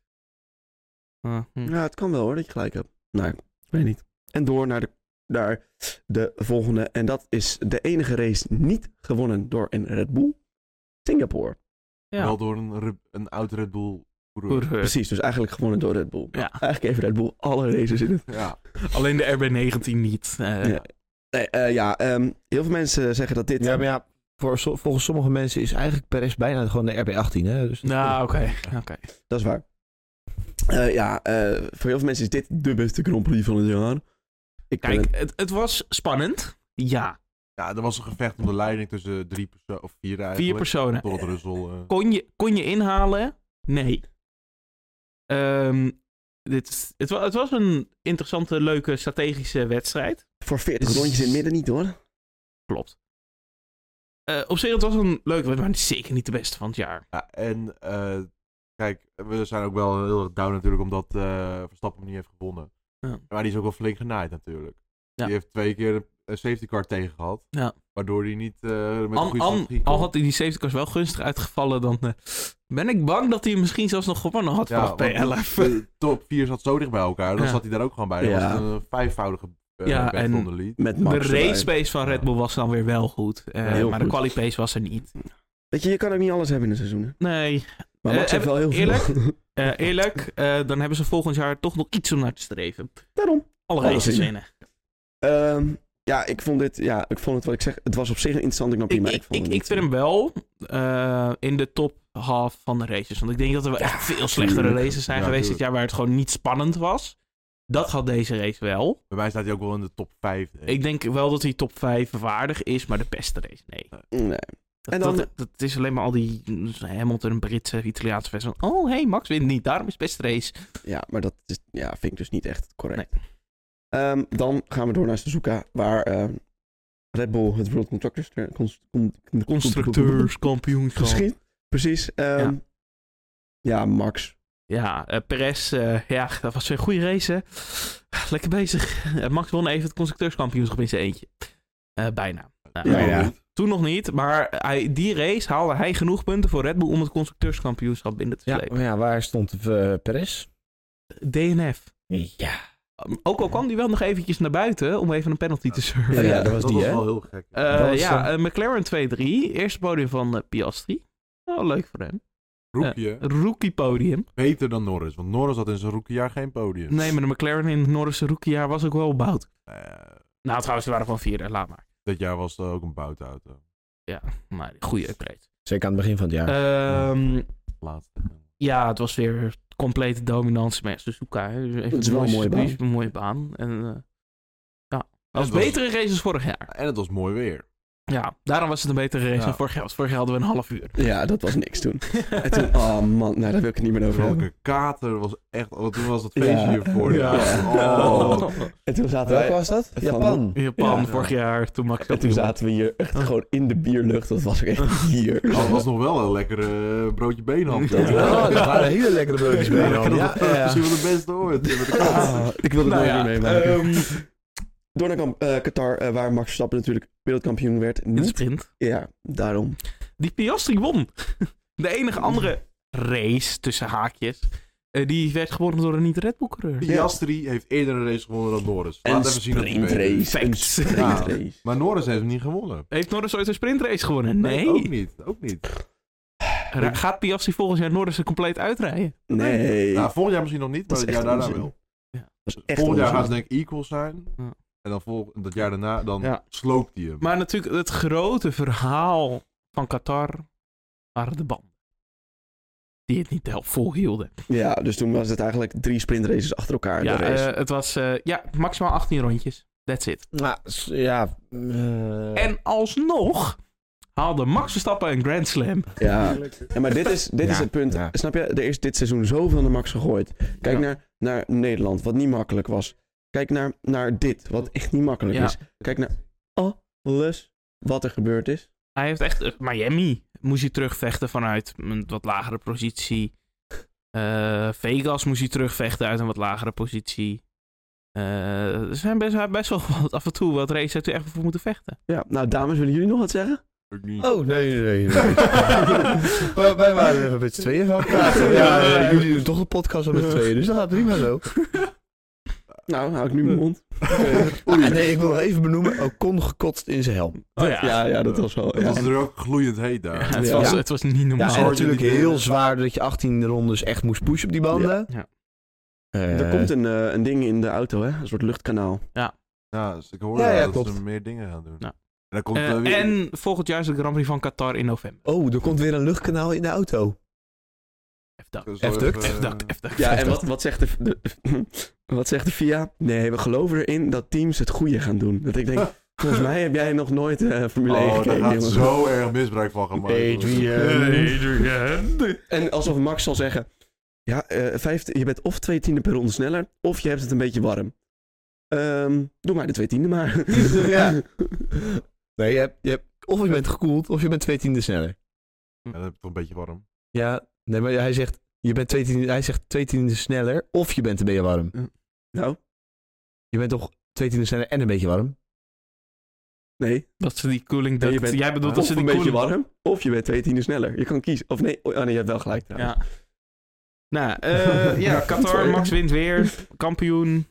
Speaker 4: Eh, hm.
Speaker 1: Ja, het kan wel hoor, dat je gelijk hebt. Nou, ik weet niet. En door naar de, naar de volgende. En dat is de enige race niet gewonnen door een Red Bull. Singapore.
Speaker 4: Ja.
Speaker 2: Wel door een, re- een oud Red Bull coureur.
Speaker 4: Coureur.
Speaker 1: Precies, dus eigenlijk gewonnen door Red Bull.
Speaker 4: Ja.
Speaker 1: Eigenlijk heeft Red Bull alle races in het.
Speaker 2: Ja.
Speaker 4: Alleen de RB19 niet. Eh,
Speaker 1: Ja. Nee, eh, ja, ehm, heel veel mensen zeggen dat dit...
Speaker 3: Ja, maar ja, voor, so- volgens sommige mensen is eigenlijk Perez bijna gewoon de RB18. Hè? Dus
Speaker 4: Nou, oké. oké.
Speaker 1: Dat is waar. Eh, ja, eh, voor heel veel mensen is dit de beste Grand Prix van het jaar. Ik ben
Speaker 4: Kijk, het, het was spannend. Ja.
Speaker 2: ja, er was een gevecht om de leiding tussen drie personen, of vier eigenlijk.
Speaker 4: Vier personen.
Speaker 2: Tot Russell. eh,
Speaker 4: Kon je, kon je inhalen? Nee. Ehm, dit, is- het, wa- het was een interessante, leuke strategische wedstrijd.
Speaker 1: voor 40 rondjes in het midden niet hoor.
Speaker 4: Klopt. Eh, op zich, het was een leuke wedstrijd, maar zeker niet de beste van het jaar.
Speaker 2: Ja, en eh, kijk, we zijn ook wel heel erg down natuurlijk omdat eh, Verstappen hem niet heeft gewonnen.
Speaker 4: Ja.
Speaker 2: Maar die is ook wel flink genaaid natuurlijk.
Speaker 4: Ja.
Speaker 2: Die heeft twee keer een- een safety car tegen gehad.
Speaker 4: Ja.
Speaker 2: Waardoor hij niet eh, met een
Speaker 4: An-
Speaker 2: goede
Speaker 4: an-
Speaker 2: strategie
Speaker 4: al
Speaker 2: kon.
Speaker 4: had hij die safety cars wel gunstig uitgevallen, dan eh, ben ik bang dat hij hem misschien zelfs nog gewonnen had
Speaker 2: Ja,
Speaker 4: vanaf P11.
Speaker 2: want De top 4 zat zo dicht bij elkaar. Dan
Speaker 4: Ja.
Speaker 2: zat hij daar ook gewoon bij. Dan
Speaker 1: Ja.
Speaker 2: was het een vijfvoudige eh
Speaker 4: Ja,
Speaker 2: battle
Speaker 4: en-
Speaker 2: on the lead.
Speaker 1: Met
Speaker 4: De
Speaker 1: Max erbij.
Speaker 4: race pace van Red Bull was dan weer wel goed. eh,
Speaker 1: heel
Speaker 4: maar de
Speaker 1: goed.
Speaker 4: quali pace was er niet.
Speaker 1: Weet je, je kan ook niet alles hebben in een seizoen. hè.
Speaker 4: Nee,
Speaker 1: Maar
Speaker 4: Eh,
Speaker 1: Max heeft
Speaker 4: heb-
Speaker 1: wel heel veel.
Speaker 4: eh, eerlijk, eh, dan hebben ze volgend jaar toch nog iets om naar te streven.
Speaker 1: Daarom.
Speaker 4: Alle
Speaker 1: Alles
Speaker 4: races
Speaker 1: in.
Speaker 4: winnen.
Speaker 1: Ehm, ja, ik vond dit, ja, ik vond het wat ik zeg, het was op zich een interessante Grand
Speaker 4: Ik,
Speaker 1: Prix, maar
Speaker 4: ik,
Speaker 1: ik vond
Speaker 4: ik,
Speaker 1: het
Speaker 4: ik
Speaker 1: niet
Speaker 4: vind hem wel eh, in de top half van de races. Want ik denk dat er wel echt veel slechtere
Speaker 1: tuurlijk.
Speaker 4: races zijn
Speaker 2: Ja,
Speaker 4: geweest dit
Speaker 2: tuurlijk.
Speaker 4: jaar waar het gewoon niet spannend was. Dat had deze race wel.
Speaker 2: Bij mij staat hij ook wel in de top 5.
Speaker 4: Ik denk wel dat hij top 5 waardig is, maar de beste race, nee.
Speaker 1: eh, mm, Nee.
Speaker 4: Dat,
Speaker 1: En dan-
Speaker 4: dat, dat is alleen maar al die dus Hamilton, Britse, Italiaanse versie. van, Oh, hey, Max wint niet. Daarom is het beste race.
Speaker 1: Ja, maar dat is, ja, vind ik dus niet echt correct. Ehm, dan gaan we door naar Suzuka, waar ehm, Red Bull het World Constructors... cons- con-
Speaker 4: Constructeurskampioenschap.
Speaker 1: Geschied. Precies. ehm, ja. Max.
Speaker 4: Ja, eh, Perez, eh, ja, dat was weer een goede race, hè. Lekker bezig. Eh, Max won even het constructeurskampioenschap in zijn eentje. Eh, bijna. Nou,
Speaker 1: Ja, ja.
Speaker 4: Toen nog niet, maar hij, die race haalde hij genoeg punten voor Red Bull om het constructeurskampioenschap binnen te
Speaker 3: ja,
Speaker 4: slepen.
Speaker 3: maar ja, waar stond eh, Perez?
Speaker 4: DNF.
Speaker 3: Ja.
Speaker 4: Um, Ook al kwam die wel nog eventjes naar buiten om even een penalty te surfen.
Speaker 3: Ja, dat was die, hè?
Speaker 2: wel heel gek.
Speaker 4: Eh,
Speaker 3: Dat was,
Speaker 4: ja,
Speaker 3: eh,
Speaker 4: eh, McLaren 2-3. Eerste podium van eh, Piastri. Oh, leuk voor hem.
Speaker 2: Roep je,
Speaker 4: Rookie podium.
Speaker 2: beter dan Norris. Want Norris had in zijn rookiejaar geen podium.
Speaker 4: Nee, maar de McLaren in het Noorse rookiejaar was ook wel bout.
Speaker 2: Eh,
Speaker 4: Nou, trouwens, ze waren gewoon vierde. Laat maar.
Speaker 2: dat jaar was er ook een boutauto.
Speaker 4: Ja, maar goede upgrade.
Speaker 3: Zeker aan het begin van het jaar.
Speaker 4: Ehm,
Speaker 2: Laatste.
Speaker 4: ja, het was weer complete dominantie met Suzuka. hè. Dus even
Speaker 1: Het is wel een mooie baan.
Speaker 4: Een mooie baan. En, eh, ja, dat was
Speaker 2: was-
Speaker 4: betere race dan vorig jaar.
Speaker 2: En het was mooi weer.
Speaker 4: Ja, daarom was het een betere race
Speaker 2: Ja.
Speaker 4: dan vorig jaar. Want vorig jaar hadden we een half uur.
Speaker 1: Ja, dat was niks toen. En toen, oh man, nou, daar wil ik het niet meer over hebben.
Speaker 2: Welke kater was echt... Oh, toen was het feestje
Speaker 1: Ja.
Speaker 2: hiervoor.
Speaker 1: Ja.
Speaker 2: Oh.
Speaker 1: En toen zaten
Speaker 3: Welke
Speaker 1: wij,
Speaker 3: was dat?
Speaker 1: Van-
Speaker 3: Japan.
Speaker 4: In Japan
Speaker 1: Ja.
Speaker 4: vorig jaar, toen Max
Speaker 1: en toen zaten we hier
Speaker 4: Oh.
Speaker 1: echt gewoon in de bierlucht. Dat was ook echt hier.
Speaker 2: Dat was nog wel een lekkere eh, broodje beenham.
Speaker 1: Ja.
Speaker 3: Ja, dat waren hele lekkere broodjes
Speaker 2: Ja,
Speaker 3: mee.
Speaker 2: dat
Speaker 3: Ja,
Speaker 2: was
Speaker 3: ja.
Speaker 2: Misschien wel de beste ooit. Met de kat.
Speaker 1: Ah, ik wilde het
Speaker 4: Nou
Speaker 1: nooit
Speaker 4: ja,
Speaker 1: meer meemaken.
Speaker 2: ehm,
Speaker 1: Door naar kamp- eh, Qatar, eh, waar Max Verstappen natuurlijk wereldkampioen werd.
Speaker 4: in de
Speaker 1: Niet,
Speaker 4: sprint.
Speaker 1: ja, daarom.
Speaker 4: Die Piastri won. De enige andere race, tussen haakjes, eh, die werd gewonnen door een niet-Red Bull-coureur.
Speaker 2: Piastri heeft eerder een race gewonnen dan Norris.
Speaker 1: Een
Speaker 2: Laat even zien dat hij beter is.
Speaker 1: sprintrace. Een
Speaker 4: Facts. Ja.
Speaker 1: sprintrace.
Speaker 2: Maar Norris heeft hem niet gewonnen.
Speaker 4: Heeft Norris ooit een sprintrace gewonnen? Nee.
Speaker 2: Ook niet. Ook niet.
Speaker 4: Ra- Gaat Piastri volgens jaar Norris er compleet uitrijden?
Speaker 1: Nee.
Speaker 2: Nou, volgend jaar misschien nog niet, maar
Speaker 1: Dat is
Speaker 2: het jaar
Speaker 1: echt
Speaker 2: daarna
Speaker 1: onzin.
Speaker 2: wel.
Speaker 1: dat is echt
Speaker 2: Volgend jaar
Speaker 1: onzin.
Speaker 2: gaan ze denk ik equals zijn.
Speaker 4: Ja.
Speaker 2: En dan vol, dat jaar daarna, dan
Speaker 4: Ja.
Speaker 2: sloopt hij hem.
Speaker 4: Maar natuurlijk, het grote verhaal van Qatar waren de banden. Die het niet heel volhielden.
Speaker 1: Ja, dus toen was het eigenlijk drie sprintraces achter elkaar.
Speaker 4: ja,
Speaker 1: de race.
Speaker 4: eh, het was eh, ja, maximaal 18 rondjes. That's it.
Speaker 3: Nou, s- ja. eh,
Speaker 4: En alsnog haalden Max Verstappen een Grand Slam.
Speaker 1: Ja, en maar dit is, dit is
Speaker 3: Ja,
Speaker 1: het punt.
Speaker 3: ja.
Speaker 1: Snap je? Er is dit seizoen zoveel naar Max gegooid. Kijk
Speaker 4: Ja.
Speaker 1: naar, naar Nederland, wat niet makkelijk was. Kijk naar, naar dit, wat echt niet makkelijk
Speaker 4: Ja.
Speaker 1: is. Kijk naar alles wat er gebeurd is.
Speaker 4: Hij heeft echt... eh, Miami moest hij terugvechten vanuit een wat lagere positie. Eh, Vegas moest hij terugvechten uit een wat lagere positie. Eh, er zijn best, best wel wat, af en toe wat races heeft hij echt voor moeten vechten.
Speaker 1: Ja, nou dames, willen jullie nog wat zeggen?
Speaker 2: Ook niet.
Speaker 3: Oh, nee, nee, nee. nee. Wij- Wij waren er even met z'n tweeën van praten. Ja, eh, jullie doen toch de podcast al met z'n tweeën, dus dat gaat prima zo.
Speaker 1: Nou, hou ik nu mijn mond.
Speaker 3: Ah, nee, ik wil nog even benoemen, Ocon gekotst in zijn helm.
Speaker 4: Oh
Speaker 1: Ja, ja, dat was wel.
Speaker 2: Dat
Speaker 1: Ja.
Speaker 2: was er ook gloeiend heet
Speaker 4: Ja,
Speaker 2: daar.
Speaker 4: het,
Speaker 1: Ja.
Speaker 4: Was,
Speaker 3: Ja.
Speaker 4: het was niet normaal.
Speaker 3: Ja, en
Speaker 2: Sergeant
Speaker 3: natuurlijk
Speaker 2: die-
Speaker 3: heel zwaar dat je 18 rondes echt moest pushen op die banden.
Speaker 4: Ja.
Speaker 3: Eh,
Speaker 1: Er komt een, eh, een ding in de auto, hè? Een soort luchtkanaal.
Speaker 2: Ja, dus ik hoor
Speaker 3: Ja,
Speaker 2: wel
Speaker 3: ja,
Speaker 2: dat
Speaker 3: klopt.
Speaker 2: ze meer dingen gaan doen.
Speaker 4: Ja.
Speaker 2: En dan komt
Speaker 4: Eh,
Speaker 2: er weer...
Speaker 4: en volgend jaar is de Grand Prix van Qatar in november.
Speaker 3: Oh, er komt weer een luchtkanaal in de auto.
Speaker 4: F-duck,
Speaker 2: Zo
Speaker 3: F-duck.
Speaker 2: even,
Speaker 4: F-duck, F-duck.
Speaker 1: Ja, en wat, wat, zegt de, de- wat zegt de FIA? Nee, we geloven erin dat teams het goede gaan doen. Dat ik denk, volgens mij heb jij nog nooit eh Formule 1
Speaker 2: Oh, daar
Speaker 1: gekeken.
Speaker 2: gaat
Speaker 1: jongen.
Speaker 2: zo erg misbruik van gemaakt.
Speaker 3: eh,
Speaker 1: En alsof Max zal zeggen, ja, eh, vijfde, je bent of twee tienden per ronde sneller, of je hebt het een beetje warm. Ehm, doe maar de twee tienden maar.
Speaker 3: Ja. Nee, je hebt, je hebt, of je bent gekoeld, of je bent twee tienden sneller.
Speaker 2: Ja, dat heb ik toch een beetje warm.
Speaker 3: Ja, nee, maar hij zegt, je bent twee tienden, hij zegt twee tienden sneller, of je bent een beetje warm.
Speaker 1: Nou,
Speaker 3: Je bent toch twee tienden sneller en een beetje warm?
Speaker 1: nee.
Speaker 4: Dat ze die cooling...
Speaker 1: Ja, je
Speaker 4: Dat,
Speaker 1: bent-
Speaker 4: jij bedoelt dat
Speaker 1: Ah. of
Speaker 4: ze
Speaker 1: een
Speaker 4: die
Speaker 1: beetje
Speaker 4: cooling...
Speaker 1: warm, of je bent twee tienden sneller. Je kan kiezen. Of nee, oh, ah, nee je hebt wel gelijk trouwens.
Speaker 4: Ja. Nou, eh, ja, Qatar, Max wint weer. Kampioen.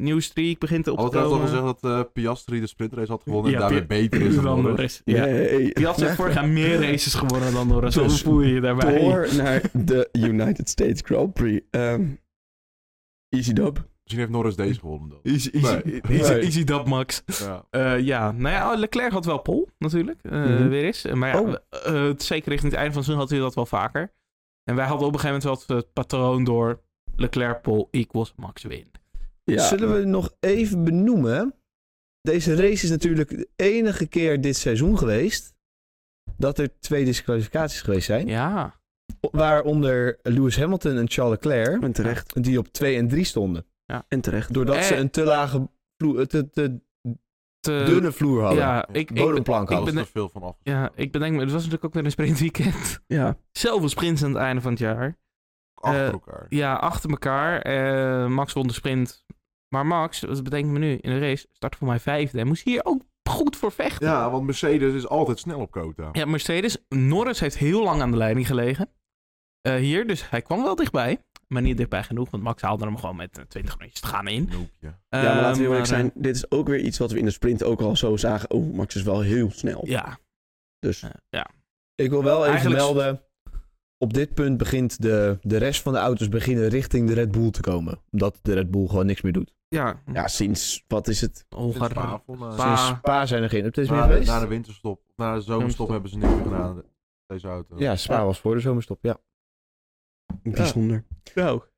Speaker 4: Nieuwe streak begint op te
Speaker 2: Had ik al
Speaker 4: komen.
Speaker 2: gezegd dat eh, Piastri de sprintrace had gewonnen
Speaker 4: Ja,
Speaker 2: en daarmee
Speaker 4: Pi-
Speaker 2: beter is dan Norris?
Speaker 4: Norris. Ja.
Speaker 1: Nee.
Speaker 4: Die had zich vorig jaar meer races gewonnen dan Norris. Dan
Speaker 1: Dus
Speaker 4: voel je je daarbij.
Speaker 1: Door naar de United States Grand Prix. Ehm, easy dub.
Speaker 2: Misschien heeft Norris deze gewonnen dan.
Speaker 4: Easy, easy,
Speaker 2: Nee.
Speaker 4: easy,
Speaker 3: Nee.
Speaker 4: easy dat, Max.
Speaker 2: Ja.
Speaker 4: Eh, ja, nou ja, Leclerc had wel pol natuurlijk, eh,
Speaker 1: Mhm.
Speaker 4: weer eens. Maar ja,
Speaker 3: Oh.
Speaker 4: eh, het- zeker richting het einde van het seizoen had hij dat wel vaker. En wij hadden op een gegeven moment wel het eh, patroon door Leclerc pol equals Max win.
Speaker 1: Ja.
Speaker 3: Zullen we nog even benoemen? Deze race is natuurlijk de enige keer dit seizoen geweest dat er twee disqualificaties geweest zijn.
Speaker 4: Ja,
Speaker 3: Waaronder Lewis Hamilton en Charles Leclerc,
Speaker 1: En terecht.
Speaker 3: die op 2 en 3 stonden.
Speaker 1: En terecht.
Speaker 3: Doordat
Speaker 4: Eh.
Speaker 3: ze een te lage, vloer- te, te
Speaker 4: te-
Speaker 3: dunne vloer hadden.
Speaker 4: ja, ik, ik,
Speaker 3: Bodemplank
Speaker 2: Daar
Speaker 4: ik
Speaker 2: was
Speaker 3: hadden.
Speaker 4: ben-
Speaker 2: er veel van af.
Speaker 4: ja, ik bedenk me, het was natuurlijk ook weer een sprintweekend.
Speaker 1: Ja.
Speaker 4: Zoveel sprints aan het einde van het jaar.
Speaker 2: Achter
Speaker 4: eh,
Speaker 2: elkaar.
Speaker 4: Ja, achter elkaar. eh, Max won de sprint. Maar Max, dat bedenkt me nu, in de race start voor mij vijfde. En moest hier ook goed voor vechten.
Speaker 2: Ja, want Mercedes is altijd snel op quota.
Speaker 4: Ja, Mercedes. Norris heeft heel lang aan de leiding gelegen. Eh, hier, dus hij kwam wel dichtbij. Maar niet dichtbij genoeg, want Max haalde hem gewoon met eh, 20 rondjes te gaan in.
Speaker 2: Noopje.
Speaker 1: ja, maar
Speaker 4: Ehm,
Speaker 1: laten we heel eerlijk
Speaker 4: maar,
Speaker 1: zijn. Dit is ook weer iets wat we in de sprint ook al zo zagen. Oh, Max is wel heel snel.
Speaker 4: eh, Ja,
Speaker 1: Dus
Speaker 4: eh, ja.
Speaker 3: Ik wil wel even
Speaker 4: Eigenlijk-
Speaker 3: melden. Op dit punt begint de, de rest van de auto's beginnen richting de Red Bull te komen. Omdat de Red Bull gewoon niks meer doet.
Speaker 4: Ja, ja.
Speaker 1: ja, sinds wat is het?
Speaker 2: Sinds
Speaker 4: Hongarije.
Speaker 2: tafel, maar-
Speaker 4: Spa- Ah.
Speaker 3: Sinds Spa zijn er geen updates meer
Speaker 2: na, de,
Speaker 3: geweest.
Speaker 2: na de winterstop, na de zomerstop
Speaker 4: Zomerstop.
Speaker 2: hebben ze niks meer gedaan. Deze auto.
Speaker 3: Ja, Spa was voor de zomerstop, ja.
Speaker 1: Bijzonder.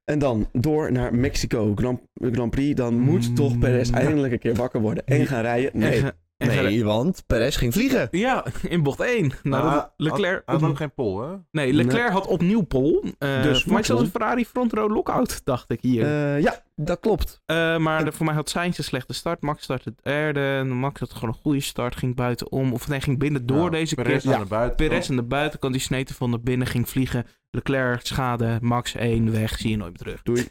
Speaker 1: En dan door naar Mexico Grand, Grand Prix. Dan moet
Speaker 4: Mm.
Speaker 1: toch Perez eindelijk een keer wakker worden en
Speaker 4: Ja.
Speaker 1: gaan rijden. Nee.
Speaker 4: En, En verder-
Speaker 3: Nee, want Perez ging vliegen.
Speaker 4: eh, Ja, in bocht 1. Nadat
Speaker 2: Maar
Speaker 4: Leclerc,
Speaker 2: Hij had
Speaker 4: op-
Speaker 2: ook geen pol, hè?
Speaker 4: nee, Leclerc had opnieuw pol. Eh
Speaker 1: Dus
Speaker 4: voor mij
Speaker 1: Max
Speaker 4: zelfs
Speaker 1: won.
Speaker 4: een Ferrari front row lockout, dacht ik hier.
Speaker 3: Eh, ja, dat klopt.
Speaker 4: Eh, maar de- voor mij had Sainz een slechte start. Max startte derde. En Max had gewoon een goede start. Ging buitenom. Of nee, ging binnen door
Speaker 2: Ja,
Speaker 4: deze
Speaker 2: Perez
Speaker 4: keer.
Speaker 2: aan de buiten.
Speaker 4: Perez aan de buitenkant. Die sneten van naar binnen. Ging vliegen. Leclerc schade. Max 1 weg. Zie je nooit meer terug.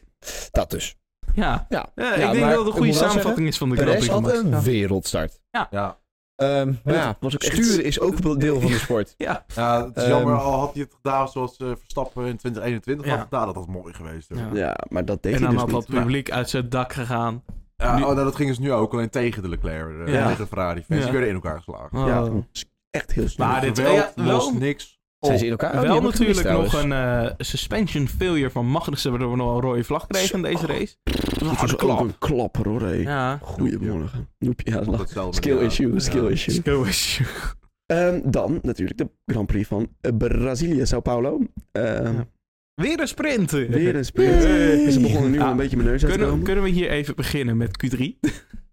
Speaker 3: Dat dus.
Speaker 4: Ja.
Speaker 3: Ja,
Speaker 4: Eh,
Speaker 3: Ja,
Speaker 4: ik denk
Speaker 3: maar
Speaker 4: dat het een
Speaker 3: ik
Speaker 4: goede
Speaker 3: moet wel
Speaker 4: samenvatting is van de Grand
Speaker 3: Perez
Speaker 4: Prix van Max.
Speaker 3: had een
Speaker 4: Ja.
Speaker 3: wereldstart.
Speaker 2: Ja.
Speaker 3: Ehm, maar
Speaker 1: Ja,
Speaker 3: ja,
Speaker 1: was ook echt-
Speaker 3: sturen is ook wel deel van de sport.
Speaker 2: ja, het is
Speaker 3: Ehm.
Speaker 2: jammer, al had hij het gedaan zoals eh, Verstappen in 2021
Speaker 4: Ja.
Speaker 2: had gedaan, dat had mooi geweest. hoor.
Speaker 4: Ja.
Speaker 1: Ja, maar dat deed
Speaker 4: En
Speaker 1: hij
Speaker 4: dan
Speaker 1: dus
Speaker 4: had
Speaker 1: niet.
Speaker 4: dat publiek uit zijn dak gegaan.
Speaker 2: Ja,
Speaker 4: Nu-
Speaker 2: oh, nou, dat ging dus nu ook, alleen tegen de Leclerc, eh,
Speaker 4: Ja.
Speaker 2: tegen de Ferrari fans.
Speaker 4: Ja.
Speaker 2: Die werden in elkaar geslagen.
Speaker 4: Oh.
Speaker 1: Ja, is echt heel snel.
Speaker 4: Maar dit-
Speaker 2: Geweld
Speaker 4: ja, wel-
Speaker 2: lost niks.
Speaker 3: Zijn
Speaker 2: op.
Speaker 3: ze in elkaar? Oh, die
Speaker 4: Wel
Speaker 3: heb ik gemist
Speaker 4: natuurlijk nog
Speaker 3: trouwens.
Speaker 4: een eh, suspension failure van Magnussen, waardoor we nog een rode vlag kregen in deze race.
Speaker 1: dat
Speaker 4: harde
Speaker 1: was ook
Speaker 4: klap.
Speaker 1: een klapper hoor, hé.
Speaker 4: Ja.
Speaker 1: Goedemorgen. Noepje, ja, dat
Speaker 2: Want
Speaker 1: lag.
Speaker 2: dat zelfde,
Speaker 1: Skill
Speaker 2: ja.
Speaker 1: issue, skill
Speaker 2: Ja.
Speaker 1: issue.
Speaker 4: Go issue.
Speaker 1: Ehm, dan natuurlijk de Grand Prix van eh, Brazilië, Sao Paulo. Ehm,
Speaker 4: Ja. Weer een sprint.
Speaker 1: Weer een sprint.
Speaker 4: Yay.
Speaker 1: Dus Ze begonnen nu
Speaker 4: Ja.
Speaker 1: al een beetje mijn neus uit te
Speaker 4: Kunnen,
Speaker 1: komen.
Speaker 4: kunnen we hier even beginnen met Q3?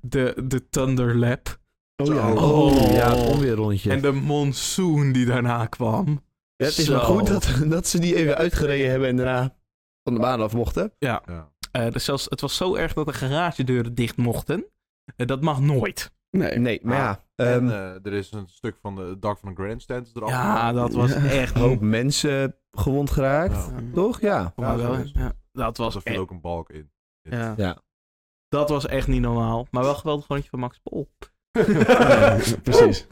Speaker 4: De, de Thunder Lap.
Speaker 1: Oh ja.
Speaker 2: Zo.
Speaker 4: Oh.
Speaker 3: ja, het onweerrondje.
Speaker 4: En de monsoon die daarna kwam.
Speaker 3: het is
Speaker 4: Zo.
Speaker 3: maar goed dat, dat ze die even uitgereden hebben en daarna van de baan af mochten.
Speaker 4: Ja,
Speaker 2: Ja.
Speaker 4: eh, dus zelfs, het was zo erg dat de garagedeuren dicht mochten. Eh, dat mag nooit.
Speaker 1: Nee.
Speaker 3: Nee, maar ja.
Speaker 2: En
Speaker 4: Ah,
Speaker 3: ehm,
Speaker 2: eh, er is een stuk van de het dak van een grandstand
Speaker 4: Oh.
Speaker 2: is eraf.
Speaker 4: Ja, dat was
Speaker 1: Ja.
Speaker 4: echt...
Speaker 3: een hoop mensen gewond geraakt.
Speaker 2: Ja.
Speaker 3: Toch? Ja.
Speaker 4: Maar
Speaker 2: Ja,
Speaker 4: wel,
Speaker 2: zo is het.
Speaker 4: ja, dat was
Speaker 2: Nou, Er
Speaker 4: echt...
Speaker 2: viel ook een balk in.
Speaker 4: Ja.
Speaker 3: Ja.
Speaker 4: Dat was echt niet normaal. Maar wel een geweldig rondje van Max Pol.
Speaker 1: Ja, precies.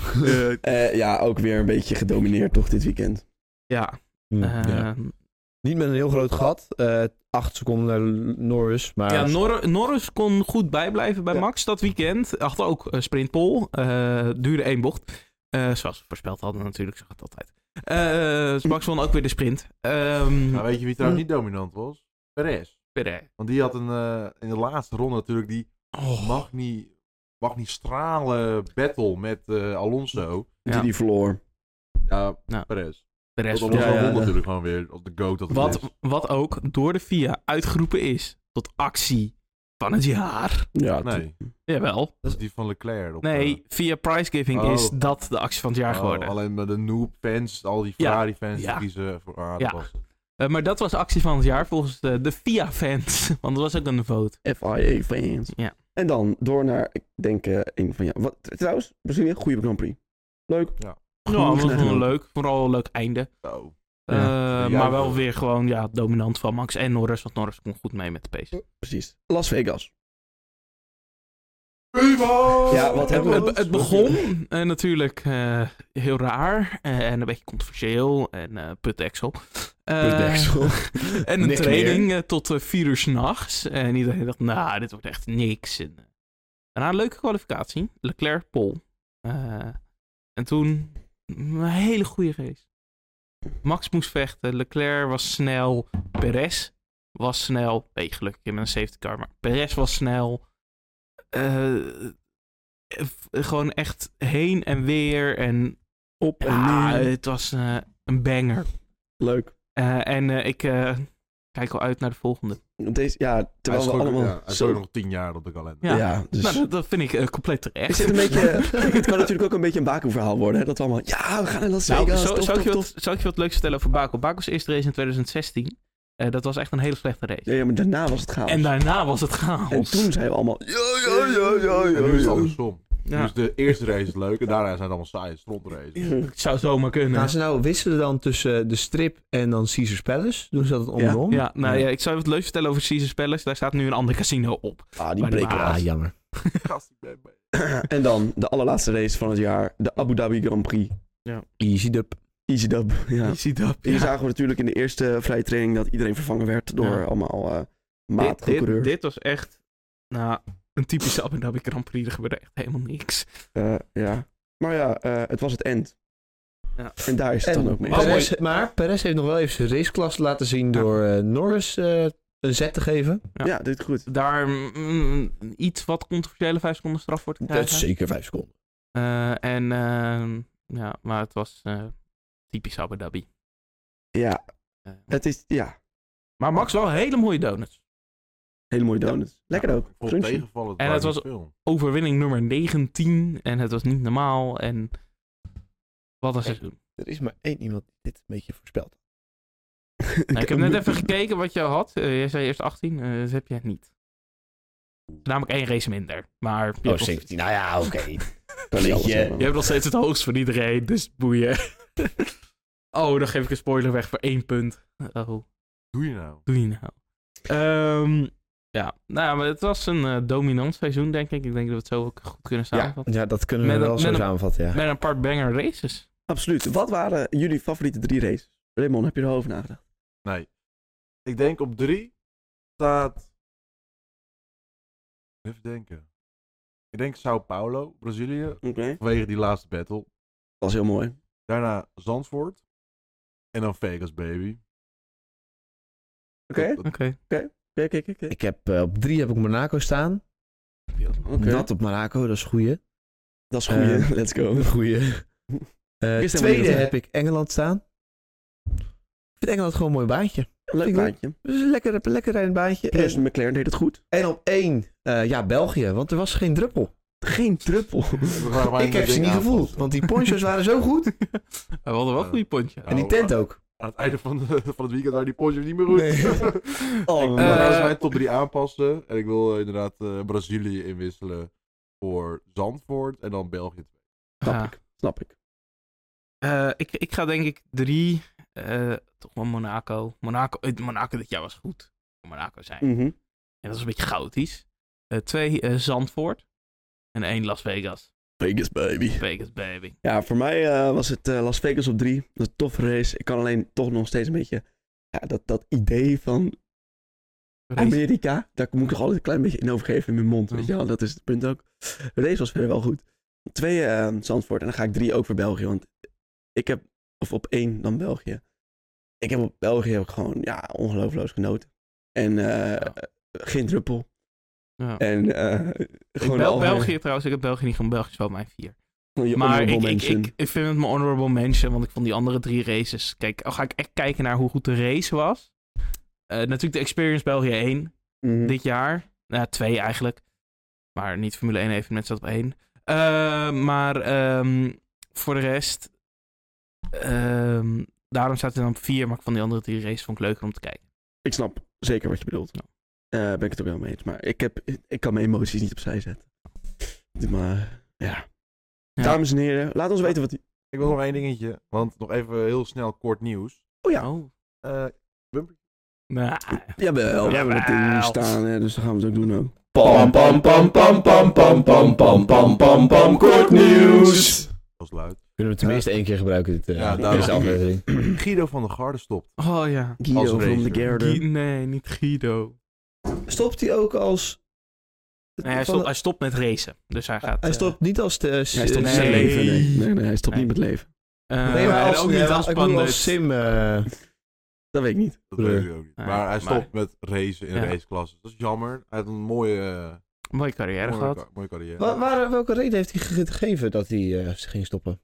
Speaker 1: Eh, ja, ook weer een beetje gedomineerd toch dit weekend.
Speaker 4: Ja.
Speaker 3: Hm, Ja.
Speaker 4: ehm,
Speaker 3: Niet met een heel groot gat. eh, acht seconden naar Norris. Maar
Speaker 4: ja Nor- Norris kon goed bijblijven bij
Speaker 1: Ja.
Speaker 4: Max dat weekend. Achter ook eh, sprintpol. Eh, duurde één bocht. Eh, zoals we voorspeld hadden natuurlijk, zag het altijd. Eh, dus Max won ook weer de sprint. Ehm,
Speaker 2: Maar weet je wie trouwens niet dominant was? Perez.
Speaker 4: Perez.
Speaker 2: Want die had een, eh, in de laatste ronde natuurlijk die
Speaker 4: Oh.
Speaker 2: mag niet, mag niet stralen battle met eh, Alonso.
Speaker 1: Die
Speaker 4: Ja.
Speaker 1: die verloor.
Speaker 2: Ja,
Speaker 4: Ja.
Speaker 2: Perez.
Speaker 4: Perez
Speaker 2: Want
Speaker 4: won.
Speaker 2: Alonso
Speaker 1: Ja, ja,
Speaker 2: won
Speaker 1: ja.
Speaker 2: natuurlijk gewoon weer op de goat dat hij is.
Speaker 4: Wat, wat ook door de FIA uitgeroepen is tot actie van het jaar.
Speaker 1: Ja,
Speaker 2: Nee,
Speaker 4: Jawel.
Speaker 2: dat is die van Leclerc. Op,
Speaker 4: Nee, via prizegiving
Speaker 2: Oh.
Speaker 4: is dat de actie van het
Speaker 2: eh,
Speaker 4: jaar
Speaker 2: oh,
Speaker 4: geworden.
Speaker 2: alleen maar de noob fans, al die
Speaker 4: Ja.
Speaker 2: Ferrari fans
Speaker 4: Ja.
Speaker 2: die kiezen voor aan
Speaker 4: Ja. Eh, maar dat was actie van het jaar volgens de, de FIA-fans. Want dat was ook een vote.
Speaker 1: FIA fans.
Speaker 4: Ja.
Speaker 1: En dan door naar, ik denk, eh, een van ja. Wat, trouwens, Brazilië, goede Grand Prix. Leuk.
Speaker 2: Ja.
Speaker 4: Nou, dat was
Speaker 1: gedaan.
Speaker 4: gewoon leuk. Vooral een leuk einde.
Speaker 2: Zo.
Speaker 4: Eh,
Speaker 2: Ja,
Speaker 4: maar wel
Speaker 2: wel.
Speaker 4: weer gewoon ja, dominant van Max en Norris. Want Norris kon goed mee met de pace.
Speaker 1: Precies. Las Vegas.
Speaker 2: Ja,
Speaker 1: Ja, wat
Speaker 4: Het,
Speaker 1: hebben we-
Speaker 4: het, het begon eh, natuurlijk eh, heel raar. eh, en een beetje controversieel. En eh putdeksel. Eh, En een
Speaker 3: Niks
Speaker 4: training eh, tot eh, vier uur s'nachts. En iedereen dacht, nou, dit wordt echt niks. En, eh, daarna een leuke kwalificatie. Leclerc, Pol. Eh, en toen een hele goede race. Max moest vechten. Leclerc was snel. Perez was snel. Nee, gelukkig met een safety car. Maar Perez was snel. Eh, eh, gewoon echt heen en weer. En
Speaker 1: Op en
Speaker 4: ja,
Speaker 1: neer.
Speaker 4: het was eh, een banger.
Speaker 1: Leuk.
Speaker 4: Eh, en eh, ik eh, kijk al uit naar de volgende.
Speaker 1: Deze, ja,
Speaker 2: Terwijl
Speaker 1: terwijl we allemaal
Speaker 2: ja, hij
Speaker 1: zo...
Speaker 2: zo... nog tien jaar op de kalender.
Speaker 4: Ja.
Speaker 1: Ja, dus...
Speaker 4: Nou, dat, dat vind ik eh, compleet terecht.
Speaker 1: Is dit een beetje... Kijk, het kan natuurlijk ook een beetje een Baku-verhaal worden. Hè? Dat we allemaal... Ja, we gaan naar Las
Speaker 4: Nou,
Speaker 1: Vegas.
Speaker 4: zo,
Speaker 1: tof,
Speaker 4: zou, ik je
Speaker 1: tof,
Speaker 4: wat,
Speaker 1: tof.
Speaker 4: zou ik je wat leuks vertellen over Baku? Baku's eerste race in 2016. eh, dat was echt een hele slechte race.
Speaker 1: Ja, ja, maar daarna was het chaos.
Speaker 4: En daarna was het
Speaker 1: En
Speaker 4: chaos.
Speaker 1: toen zijn we allemaal...
Speaker 3: Ja, ja, ja, ja,
Speaker 2: En nu is het
Speaker 3: ja, ja.
Speaker 2: andersom.
Speaker 4: Ja.
Speaker 2: Dus de eerste race is leuk en daarna zijn het allemaal saaie strontraces.
Speaker 4: Het zou zomaar kunnen.
Speaker 3: Gaan ze nou wisselen dan tussen de strip en dan Caesars Palace? Doen ze dat andersom?
Speaker 4: Ja, nou ja, ik zou je wat leuks vertellen over Caesars Palace. Daar staat nu een ander casino op.
Speaker 1: Ah, die
Speaker 4: Maar die
Speaker 1: breken we
Speaker 4: waren-
Speaker 1: af.
Speaker 3: Ah, jammer.
Speaker 2: Gast, ik ben mee.
Speaker 1: En dan de allerlaatste race van het jaar. De Abu Dhabi Grand Prix.
Speaker 3: Easy dub.
Speaker 1: Easy dub. Ja.
Speaker 4: Je ziet dat.
Speaker 1: Hier
Speaker 4: Ja.
Speaker 1: zagen we natuurlijk in de eerste vrije training dat iedereen vervangen werd door
Speaker 4: Ja.
Speaker 1: allemaal eh
Speaker 4: Dit,
Speaker 1: matige
Speaker 4: dit,
Speaker 1: coureurs.
Speaker 4: dit was echt nou, een typische Abu Dhabi Grand Prix. Er gebeurde echt helemaal niks.
Speaker 1: Eh, ja. Maar ja, eh, het was het end.
Speaker 4: Ja.
Speaker 1: En daar is het
Speaker 3: En-
Speaker 1: dan ook mee. Dus-
Speaker 4: Oh,
Speaker 3: Perez- maar Perez heeft nog wel even zijn raceklasse laten zien door eh, Norris eh, een zet te geven.
Speaker 1: ja. dit goed.
Speaker 4: Daar mm, iets wat controversiële vijf seconden straf wordt
Speaker 3: Dat
Speaker 4: krijgen.
Speaker 3: is zeker vijf seconden.
Speaker 4: Eh, en ehm, ja, maar het was eh, typisch Abu Dhabi.
Speaker 1: Ja,
Speaker 4: Eh,
Speaker 1: het is, ja.
Speaker 4: maar Max wel hele mooie donuts.
Speaker 1: Hele mooie donuts. Lekker ook.
Speaker 2: Ik vond het
Speaker 1: Crunchy.
Speaker 2: tegenvallen.
Speaker 4: En het
Speaker 2: waren
Speaker 4: was-
Speaker 2: niet veel.
Speaker 4: Overwinning nummer 19. En het was niet normaal. En wat een seizoen.
Speaker 5: Er is maar één iemand die dit een beetje voorspelt.
Speaker 4: Nou, ik heb net even gekeken wat je had. Eh, jij zei eerst 18. eh, dat heb jij niet. Namelijk één race minder. Maar je,
Speaker 5: Oh,
Speaker 4: hebt, nog,
Speaker 5: 17. Nou ja, oké.
Speaker 1: Kan niet alles hebben.
Speaker 4: je hebt nog steeds het hoogst van iedereen. Dus boeien. oh, dan geef ik een spoiler weg voor één punt. Oh.
Speaker 2: Doe je nou?
Speaker 4: doe je nou? Ehm, ja, nou, maar het was een eh, dominant seizoen, denk ik. Ik denk dat we het zo ook goed kunnen samenvatten.
Speaker 3: Ja, dat kunnen we
Speaker 4: Met een-
Speaker 3: wel zo
Speaker 4: met een-
Speaker 3: samenvatten, ja.
Speaker 4: Met een paar banger races.
Speaker 1: Absoluut. Wat waren jullie favoriete drie races? Raymond, heb je erover nagedacht?
Speaker 2: Nee. Ik denk op drie staat. Even denken. Ik denk Sao Paulo, Brazilië.
Speaker 1: Oké.
Speaker 2: Vanwege die laatste battle.
Speaker 1: was heel mooi.
Speaker 2: Daarna Zandvoort. En dan Vegas, baby.
Speaker 1: Oké,
Speaker 2: Dat- dat-
Speaker 4: Oké.
Speaker 1: kijk, kijk, kijk.
Speaker 3: Ik heb, eh, op drie heb ik Monaco staan.
Speaker 2: die had-
Speaker 1: Oké.
Speaker 3: Nat op Monaco, dat is een goeie.
Speaker 1: Dat is goeie.
Speaker 3: Eh,
Speaker 1: Let's go.
Speaker 3: Een goeie. Eh,
Speaker 1: Is er wel
Speaker 3: tweede
Speaker 1: iemand, hè?
Speaker 3: heb ik Engeland staan. Ik vind Engeland gewoon een mooi baantje.
Speaker 1: Leuk
Speaker 3: ik-
Speaker 1: baantje.
Speaker 3: Dus een lekker, lekker rijdend baantje.
Speaker 1: Plus
Speaker 3: En,
Speaker 1: McLaren deed het goed.
Speaker 3: en op één, eh, ja, België. Want er was geen druppel.
Speaker 1: Geen druppel.
Speaker 2: We waren maar
Speaker 3: ik heb
Speaker 2: dat
Speaker 3: ze
Speaker 2: ding aanpassen.
Speaker 3: niet gevoeld. Want die ponchos waren zo goed.
Speaker 4: We hadden wel een goede pontje.
Speaker 2: Ja.
Speaker 3: En die tent ook.
Speaker 2: Aan het einde van, de- van het weekend waren die Porsche niet meer goed.
Speaker 3: Nee.
Speaker 1: Oh,
Speaker 2: ik wil
Speaker 3: Eh,
Speaker 1: man.
Speaker 2: trouwens mijn top 3 aanpassen. En ik wil eh, inderdaad eh, Brazilië inwisselen voor Zandvoort. En dan België.
Speaker 1: Snap
Speaker 4: Ja.
Speaker 1: ik. Snap ik.
Speaker 4: Eh, ik, ik ga denk ik drie. eh, toch wel Monaco. Monaco, eh, Monaco dit jaar was goed. Monaco zijn.
Speaker 1: Mhm.
Speaker 4: En dat is een beetje chaotisch. Eh, twee eh, Zandvoort. En één Las Vegas.
Speaker 1: Vegas, baby.
Speaker 4: Vegas, baby.
Speaker 1: Ja, voor mij eh, was het eh, Las Vegas op 3. Dat is een toffe race. Ik kan alleen toch nog steeds een beetje... Ja, dat, dat idee van Amerika, daar moet ik nog altijd een klein beetje in overgeven in mijn mond.
Speaker 4: Mm.
Speaker 1: Weet je wel? Dat is het punt ook. De race was verder wel goed. Twee eh Zandvoort en dan ga ik drie ook voor België. Want ik heb, of op één dan België. Ik heb op België heb ik gewoon ja, ongelooflijk genoten. En eh,
Speaker 4: Ja.
Speaker 1: geen druppel.
Speaker 4: Ja.
Speaker 1: En eh,
Speaker 4: Ik
Speaker 1: gewoon
Speaker 4: bel-
Speaker 1: al-
Speaker 4: België trouwens. Ik heb België niet van België is wel mijn vier.
Speaker 1: je
Speaker 4: Maar ik,
Speaker 1: honorable
Speaker 4: ik,
Speaker 1: mention.
Speaker 4: ik, ik vind het mijn honorable mention, want ik vond die andere drie races... Kijk, al ga ik echt kijken naar hoe goed de race was. Eh, natuurlijk de Experience België 1
Speaker 1: Mhm.
Speaker 4: dit jaar. Nou, twee eigenlijk. Maar niet Formule 1 evenement zat op één. Eh, maar ehm, voor de rest... ehm, daarom staat hij dan op vier, maar ik vond die andere drie races vond ik leuker om te kijken.
Speaker 1: Ik snap zeker wat je bedoelt.
Speaker 4: Ja.
Speaker 1: Eh, ben ik het ook wel mee eens. Maar ik, heb, ik kan mijn emoties niet opzij zetten. Maar ja.
Speaker 4: Ja.
Speaker 1: Dames en heren, laat ons weten wat... die-
Speaker 2: Ik wil nog één dingetje. Want nog even heel snel kort nieuws.
Speaker 1: Oh ja.
Speaker 4: Oh.
Speaker 2: Eh,
Speaker 4: Nou,
Speaker 1: Jawel. We hebben het ding
Speaker 4: Jawel.
Speaker 1: staan, hè, dus dat gaan we het ook doen ook.
Speaker 5: Pam, pam, pam, pam, pam, pam, pam, pam, pam, pam, pam, kort nieuws.
Speaker 2: was luid.
Speaker 3: Kunnen we tenminste één keer gebruiken dit, eh,
Speaker 2: Ja,
Speaker 3: deze
Speaker 2: daarom.
Speaker 3: aflevering.
Speaker 2: Guido van der Garde stopt.
Speaker 4: oh ja.
Speaker 2: Als
Speaker 1: Guido van
Speaker 2: racer.
Speaker 1: de Garde.
Speaker 4: Guy- nee, niet Guido.
Speaker 3: Stopt hij ook als...
Speaker 4: Nee, hij,
Speaker 3: van-
Speaker 4: stopt, hij stopt met racen. Dus hij gaat...
Speaker 3: hij
Speaker 4: eh,
Speaker 3: stopt niet als... De,
Speaker 1: Hij stopt
Speaker 4: Nee.
Speaker 1: niet met leven. Nee, nee, nee hij stopt
Speaker 4: Nee.
Speaker 1: niet met leven.
Speaker 4: eh,
Speaker 3: Nee, maar
Speaker 4: en
Speaker 3: als,
Speaker 4: ook niet
Speaker 3: ja,
Speaker 4: als
Speaker 3: ik bedoel
Speaker 4: Pandit.
Speaker 3: als sim... eh,
Speaker 1: Dat weet ik niet.
Speaker 2: Dat
Speaker 3: Brr.
Speaker 2: weet ik ook niet.
Speaker 4: Nee,
Speaker 2: maar
Speaker 4: maar-
Speaker 2: hij stopt met racen in
Speaker 4: Ja.
Speaker 2: raceklassen. Dat is jammer. Hij had een mooie, eh,
Speaker 4: Mooie carrière
Speaker 2: mooie,
Speaker 4: gehad.
Speaker 2: ka- mooie carrière.
Speaker 3: wa- waar- welke reden heeft hij ge- gegeven dat hij eh, ging stoppen?
Speaker 2: Hij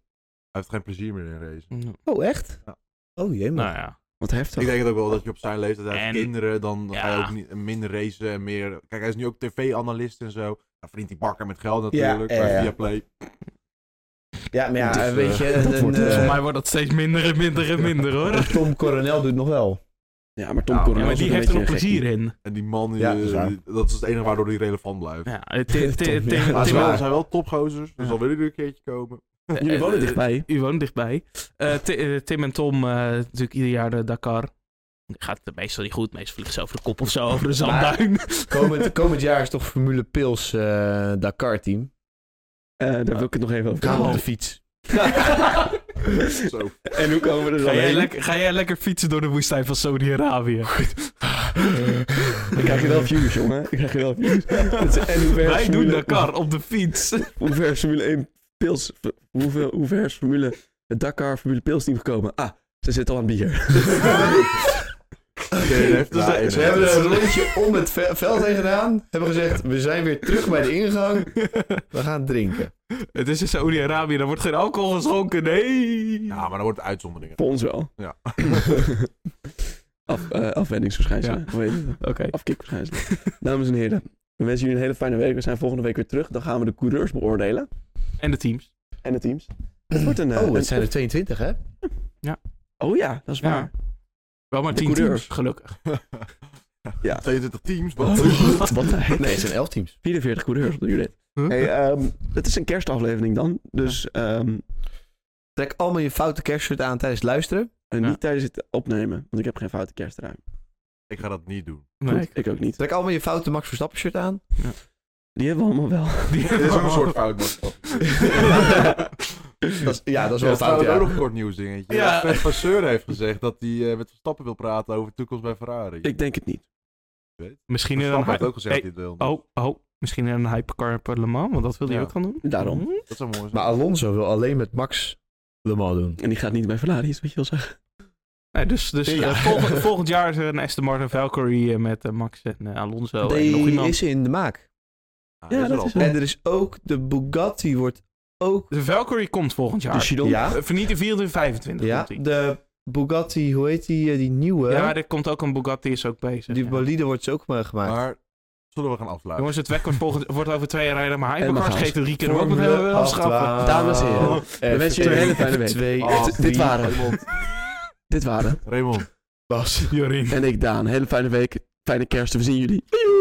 Speaker 2: heeft geen plezier meer in racen.
Speaker 4: Mm,
Speaker 3: Oh, echt?
Speaker 2: Ja.
Speaker 3: Oh, jee, man.
Speaker 4: Nou ja.
Speaker 1: Wat heftig.
Speaker 2: Ik denk het ook wel dat je op zijn leeftijd hij heeft
Speaker 4: En-
Speaker 2: kinderen, dan
Speaker 4: Ja.
Speaker 2: ga je ook niet, minder racen en meer. Kijk, hij is nu ook tv-analist en zo. Dan verdient hij bakken met geld natuurlijk.
Speaker 3: ja,
Speaker 2: bij
Speaker 3: ja.
Speaker 2: Viaplay.
Speaker 3: Ja, maar ja,
Speaker 2: Dus, eh,
Speaker 3: weet je...
Speaker 1: dat
Speaker 3: een,
Speaker 1: wordt-
Speaker 3: eh,
Speaker 4: Voor mij wordt dat steeds minder en minder en minder hoor.
Speaker 3: Tom Coronel doet nog wel.
Speaker 1: Ja, maar Tom
Speaker 2: Ja,
Speaker 1: Coronel
Speaker 4: Nou, Ja, maar
Speaker 1: is
Speaker 4: die
Speaker 1: ook een
Speaker 4: heeft er nog
Speaker 1: beetje een
Speaker 4: plezier
Speaker 1: gekkie.
Speaker 4: in.
Speaker 2: En die man,
Speaker 3: Ja,
Speaker 2: eh,
Speaker 3: dat is waar.
Speaker 2: dat is het enige waardoor hij relevant blijft.
Speaker 4: Ja, eh, Tim-
Speaker 3: Tom,
Speaker 4: Tim-
Speaker 3: ja.
Speaker 4: Tim-
Speaker 2: Maar
Speaker 3: dat
Speaker 2: ze
Speaker 3: is
Speaker 4: Tim-
Speaker 3: waar.
Speaker 2: wel- zijn wel topgozers, dus
Speaker 4: Ja.
Speaker 2: dan willen jullie een keertje komen.
Speaker 4: eh,
Speaker 1: Jullie wonen
Speaker 4: eh,
Speaker 1: dichtbij.
Speaker 4: U woont dichtbij. Eh, Ti- eh, Tim en Tom, eh, natuurlijk ieder jaar de Dakar. Gaat het meestal niet goed. Meestal vliegen ze over de kop of zo, over de zandduin.
Speaker 3: Komend, komend jaar is toch Formule Pils eh, Dakar-team.
Speaker 1: Eh, daar wil ik het nog even over
Speaker 3: Gaan we
Speaker 1: hebben.
Speaker 3: op de fiets.
Speaker 2: Zo.
Speaker 1: En hoe komen we er dan
Speaker 4: Ga jij,
Speaker 1: heen?
Speaker 4: lekker, ga jij lekker fietsen door de woestijn van Saudi-Arabië?
Speaker 1: Dan krijg je wel views, jongen. Dan krijg je wel views. En hoe ver
Speaker 4: Wij
Speaker 1: is
Speaker 4: doen
Speaker 1: Formule-
Speaker 4: Dakar op de fiets.
Speaker 1: Hoe ver is Formule 1 Pils... Hoe, ver- hoe ver is Formule... Het Dakar Formule Pils team gekomen? Ah, ze zitten al aan bier.
Speaker 2: heeft
Speaker 3: Dus
Speaker 2: ja,
Speaker 3: we- ze
Speaker 2: nee,
Speaker 3: hebben
Speaker 2: nee.
Speaker 3: een rondje om het ve- veld heen gedaan. Hebben gezegd, we zijn weer terug bij de ingang. We gaan drinken.
Speaker 4: het is in Saudi-Arabië, daar wordt geen alcohol geschonken, nee.
Speaker 2: Ja, maar dan wordt het uitzonderingen.
Speaker 1: Voor ons wel.
Speaker 2: Ja.
Speaker 1: Af, eh, afwendingsverschijnselen. Hoe heet het?
Speaker 4: Oké.
Speaker 1: Afkikverschijnselen. Dames en heren, we wensen jullie een hele fijne week. We zijn volgende week weer terug. Dan gaan we de coureurs beoordelen.
Speaker 4: En de teams.
Speaker 1: En de teams. Het wordt een... eh,
Speaker 3: Oh,
Speaker 1: een-
Speaker 3: het zijn er 22, hè?
Speaker 1: Oh ja, dat is
Speaker 4: Ja.
Speaker 1: waar.
Speaker 4: Wel maar
Speaker 1: De
Speaker 4: tien teams,
Speaker 1: coureurs.
Speaker 4: gelukkig.
Speaker 1: Ja.
Speaker 2: 22 teams,
Speaker 1: Wat? Wat? Wat?
Speaker 3: Nee, het zijn 11 teams.
Speaker 1: 44 coureurs op de Judith.
Speaker 4: Huh?
Speaker 1: Hey, ehm, het is een kerstaflevering dan. Dus ehm,
Speaker 3: Trek allemaal je foute kerstshirt aan tijdens het luisteren.
Speaker 1: en
Speaker 4: Ja.
Speaker 1: niet tijdens het opnemen. Want ik heb geen foute kerstruim.
Speaker 2: Ik ga dat niet doen.
Speaker 1: Goed, ik ook niet.
Speaker 3: Trek allemaal je foute Max Verstappen shirt aan.
Speaker 1: Die hebben we allemaal wel.
Speaker 4: Die-
Speaker 2: Dit is ook een soort fout, man.
Speaker 3: Dat is- ja, dat is wel
Speaker 2: Ja,
Speaker 3: een fout,
Speaker 2: trouwens
Speaker 3: ja.
Speaker 2: ook nog een kort nieuws dingetje.
Speaker 4: Ja.
Speaker 2: Ja. Fred Vasseur heeft gezegd dat hij eh, met Verstappen wil praten over de toekomst bij Ferrari.
Speaker 1: Ik denk het niet.
Speaker 4: Misschien in een
Speaker 2: Verstappen heeft
Speaker 4: hype.
Speaker 2: ook gezegd
Speaker 4: Hey,
Speaker 2: dat hij het wil.
Speaker 4: Oh, oh. Misschien in een hypercar per Le Mans, want dat wil hij
Speaker 2: Ja.
Speaker 4: ook gaan doen.
Speaker 1: Daarom.
Speaker 4: Hm?
Speaker 2: Dat zou mooi zijn.
Speaker 3: Maar Alonso wil alleen met Max Le Mans doen.
Speaker 1: En die gaat niet bij Ferrari, is wat je wil zeggen.
Speaker 4: Nee, dus dus
Speaker 3: Ja.
Speaker 4: eh, volgend, volgend jaar is er een Aston Martin Valkyrie eh, met eh, Max en eh, Alonso en nog
Speaker 3: Die
Speaker 4: iemand.
Speaker 3: is in de maak.
Speaker 2: Ah,
Speaker 1: ja,
Speaker 2: is er
Speaker 1: dat
Speaker 2: al.
Speaker 1: is wel-
Speaker 3: En er is ook, de Bugatti wordt ook...
Speaker 4: De Valkyrie komt volgend
Speaker 1: De
Speaker 4: jaar.
Speaker 1: Chidon.
Speaker 3: Ja,
Speaker 4: Eh, Voor niet de 24, 25
Speaker 3: ja,
Speaker 4: komt die.
Speaker 3: de Bugatti, hoe heet die, eh, die nieuwe?
Speaker 4: Ja, er komt ook een Bugatti is ook bezig.
Speaker 3: die
Speaker 4: ja.
Speaker 3: bolide wordt ze ook maar gemaakt.
Speaker 2: Maar zullen we gaan afsluiten?
Speaker 4: Jongens, het weg wordt, volgend, wordt over twee jaar rijden, maar
Speaker 1: En maar
Speaker 4: hypercars
Speaker 1: chaos.
Speaker 4: geeft de drie keer ook met hebben we afschaffen.
Speaker 1: Dames en heren,
Speaker 3: we
Speaker 1: wensen jullie een hele fijne week.
Speaker 3: Eh, Twee,
Speaker 2: Ah,
Speaker 1: dit- dit waren-
Speaker 2: Raymond.
Speaker 1: Dit waren
Speaker 2: Raymond.
Speaker 3: Bas.
Speaker 4: Jorin.
Speaker 1: en ik, Daan. Hele fijne week. Fijne kerst. We zien jullie. Joejoe.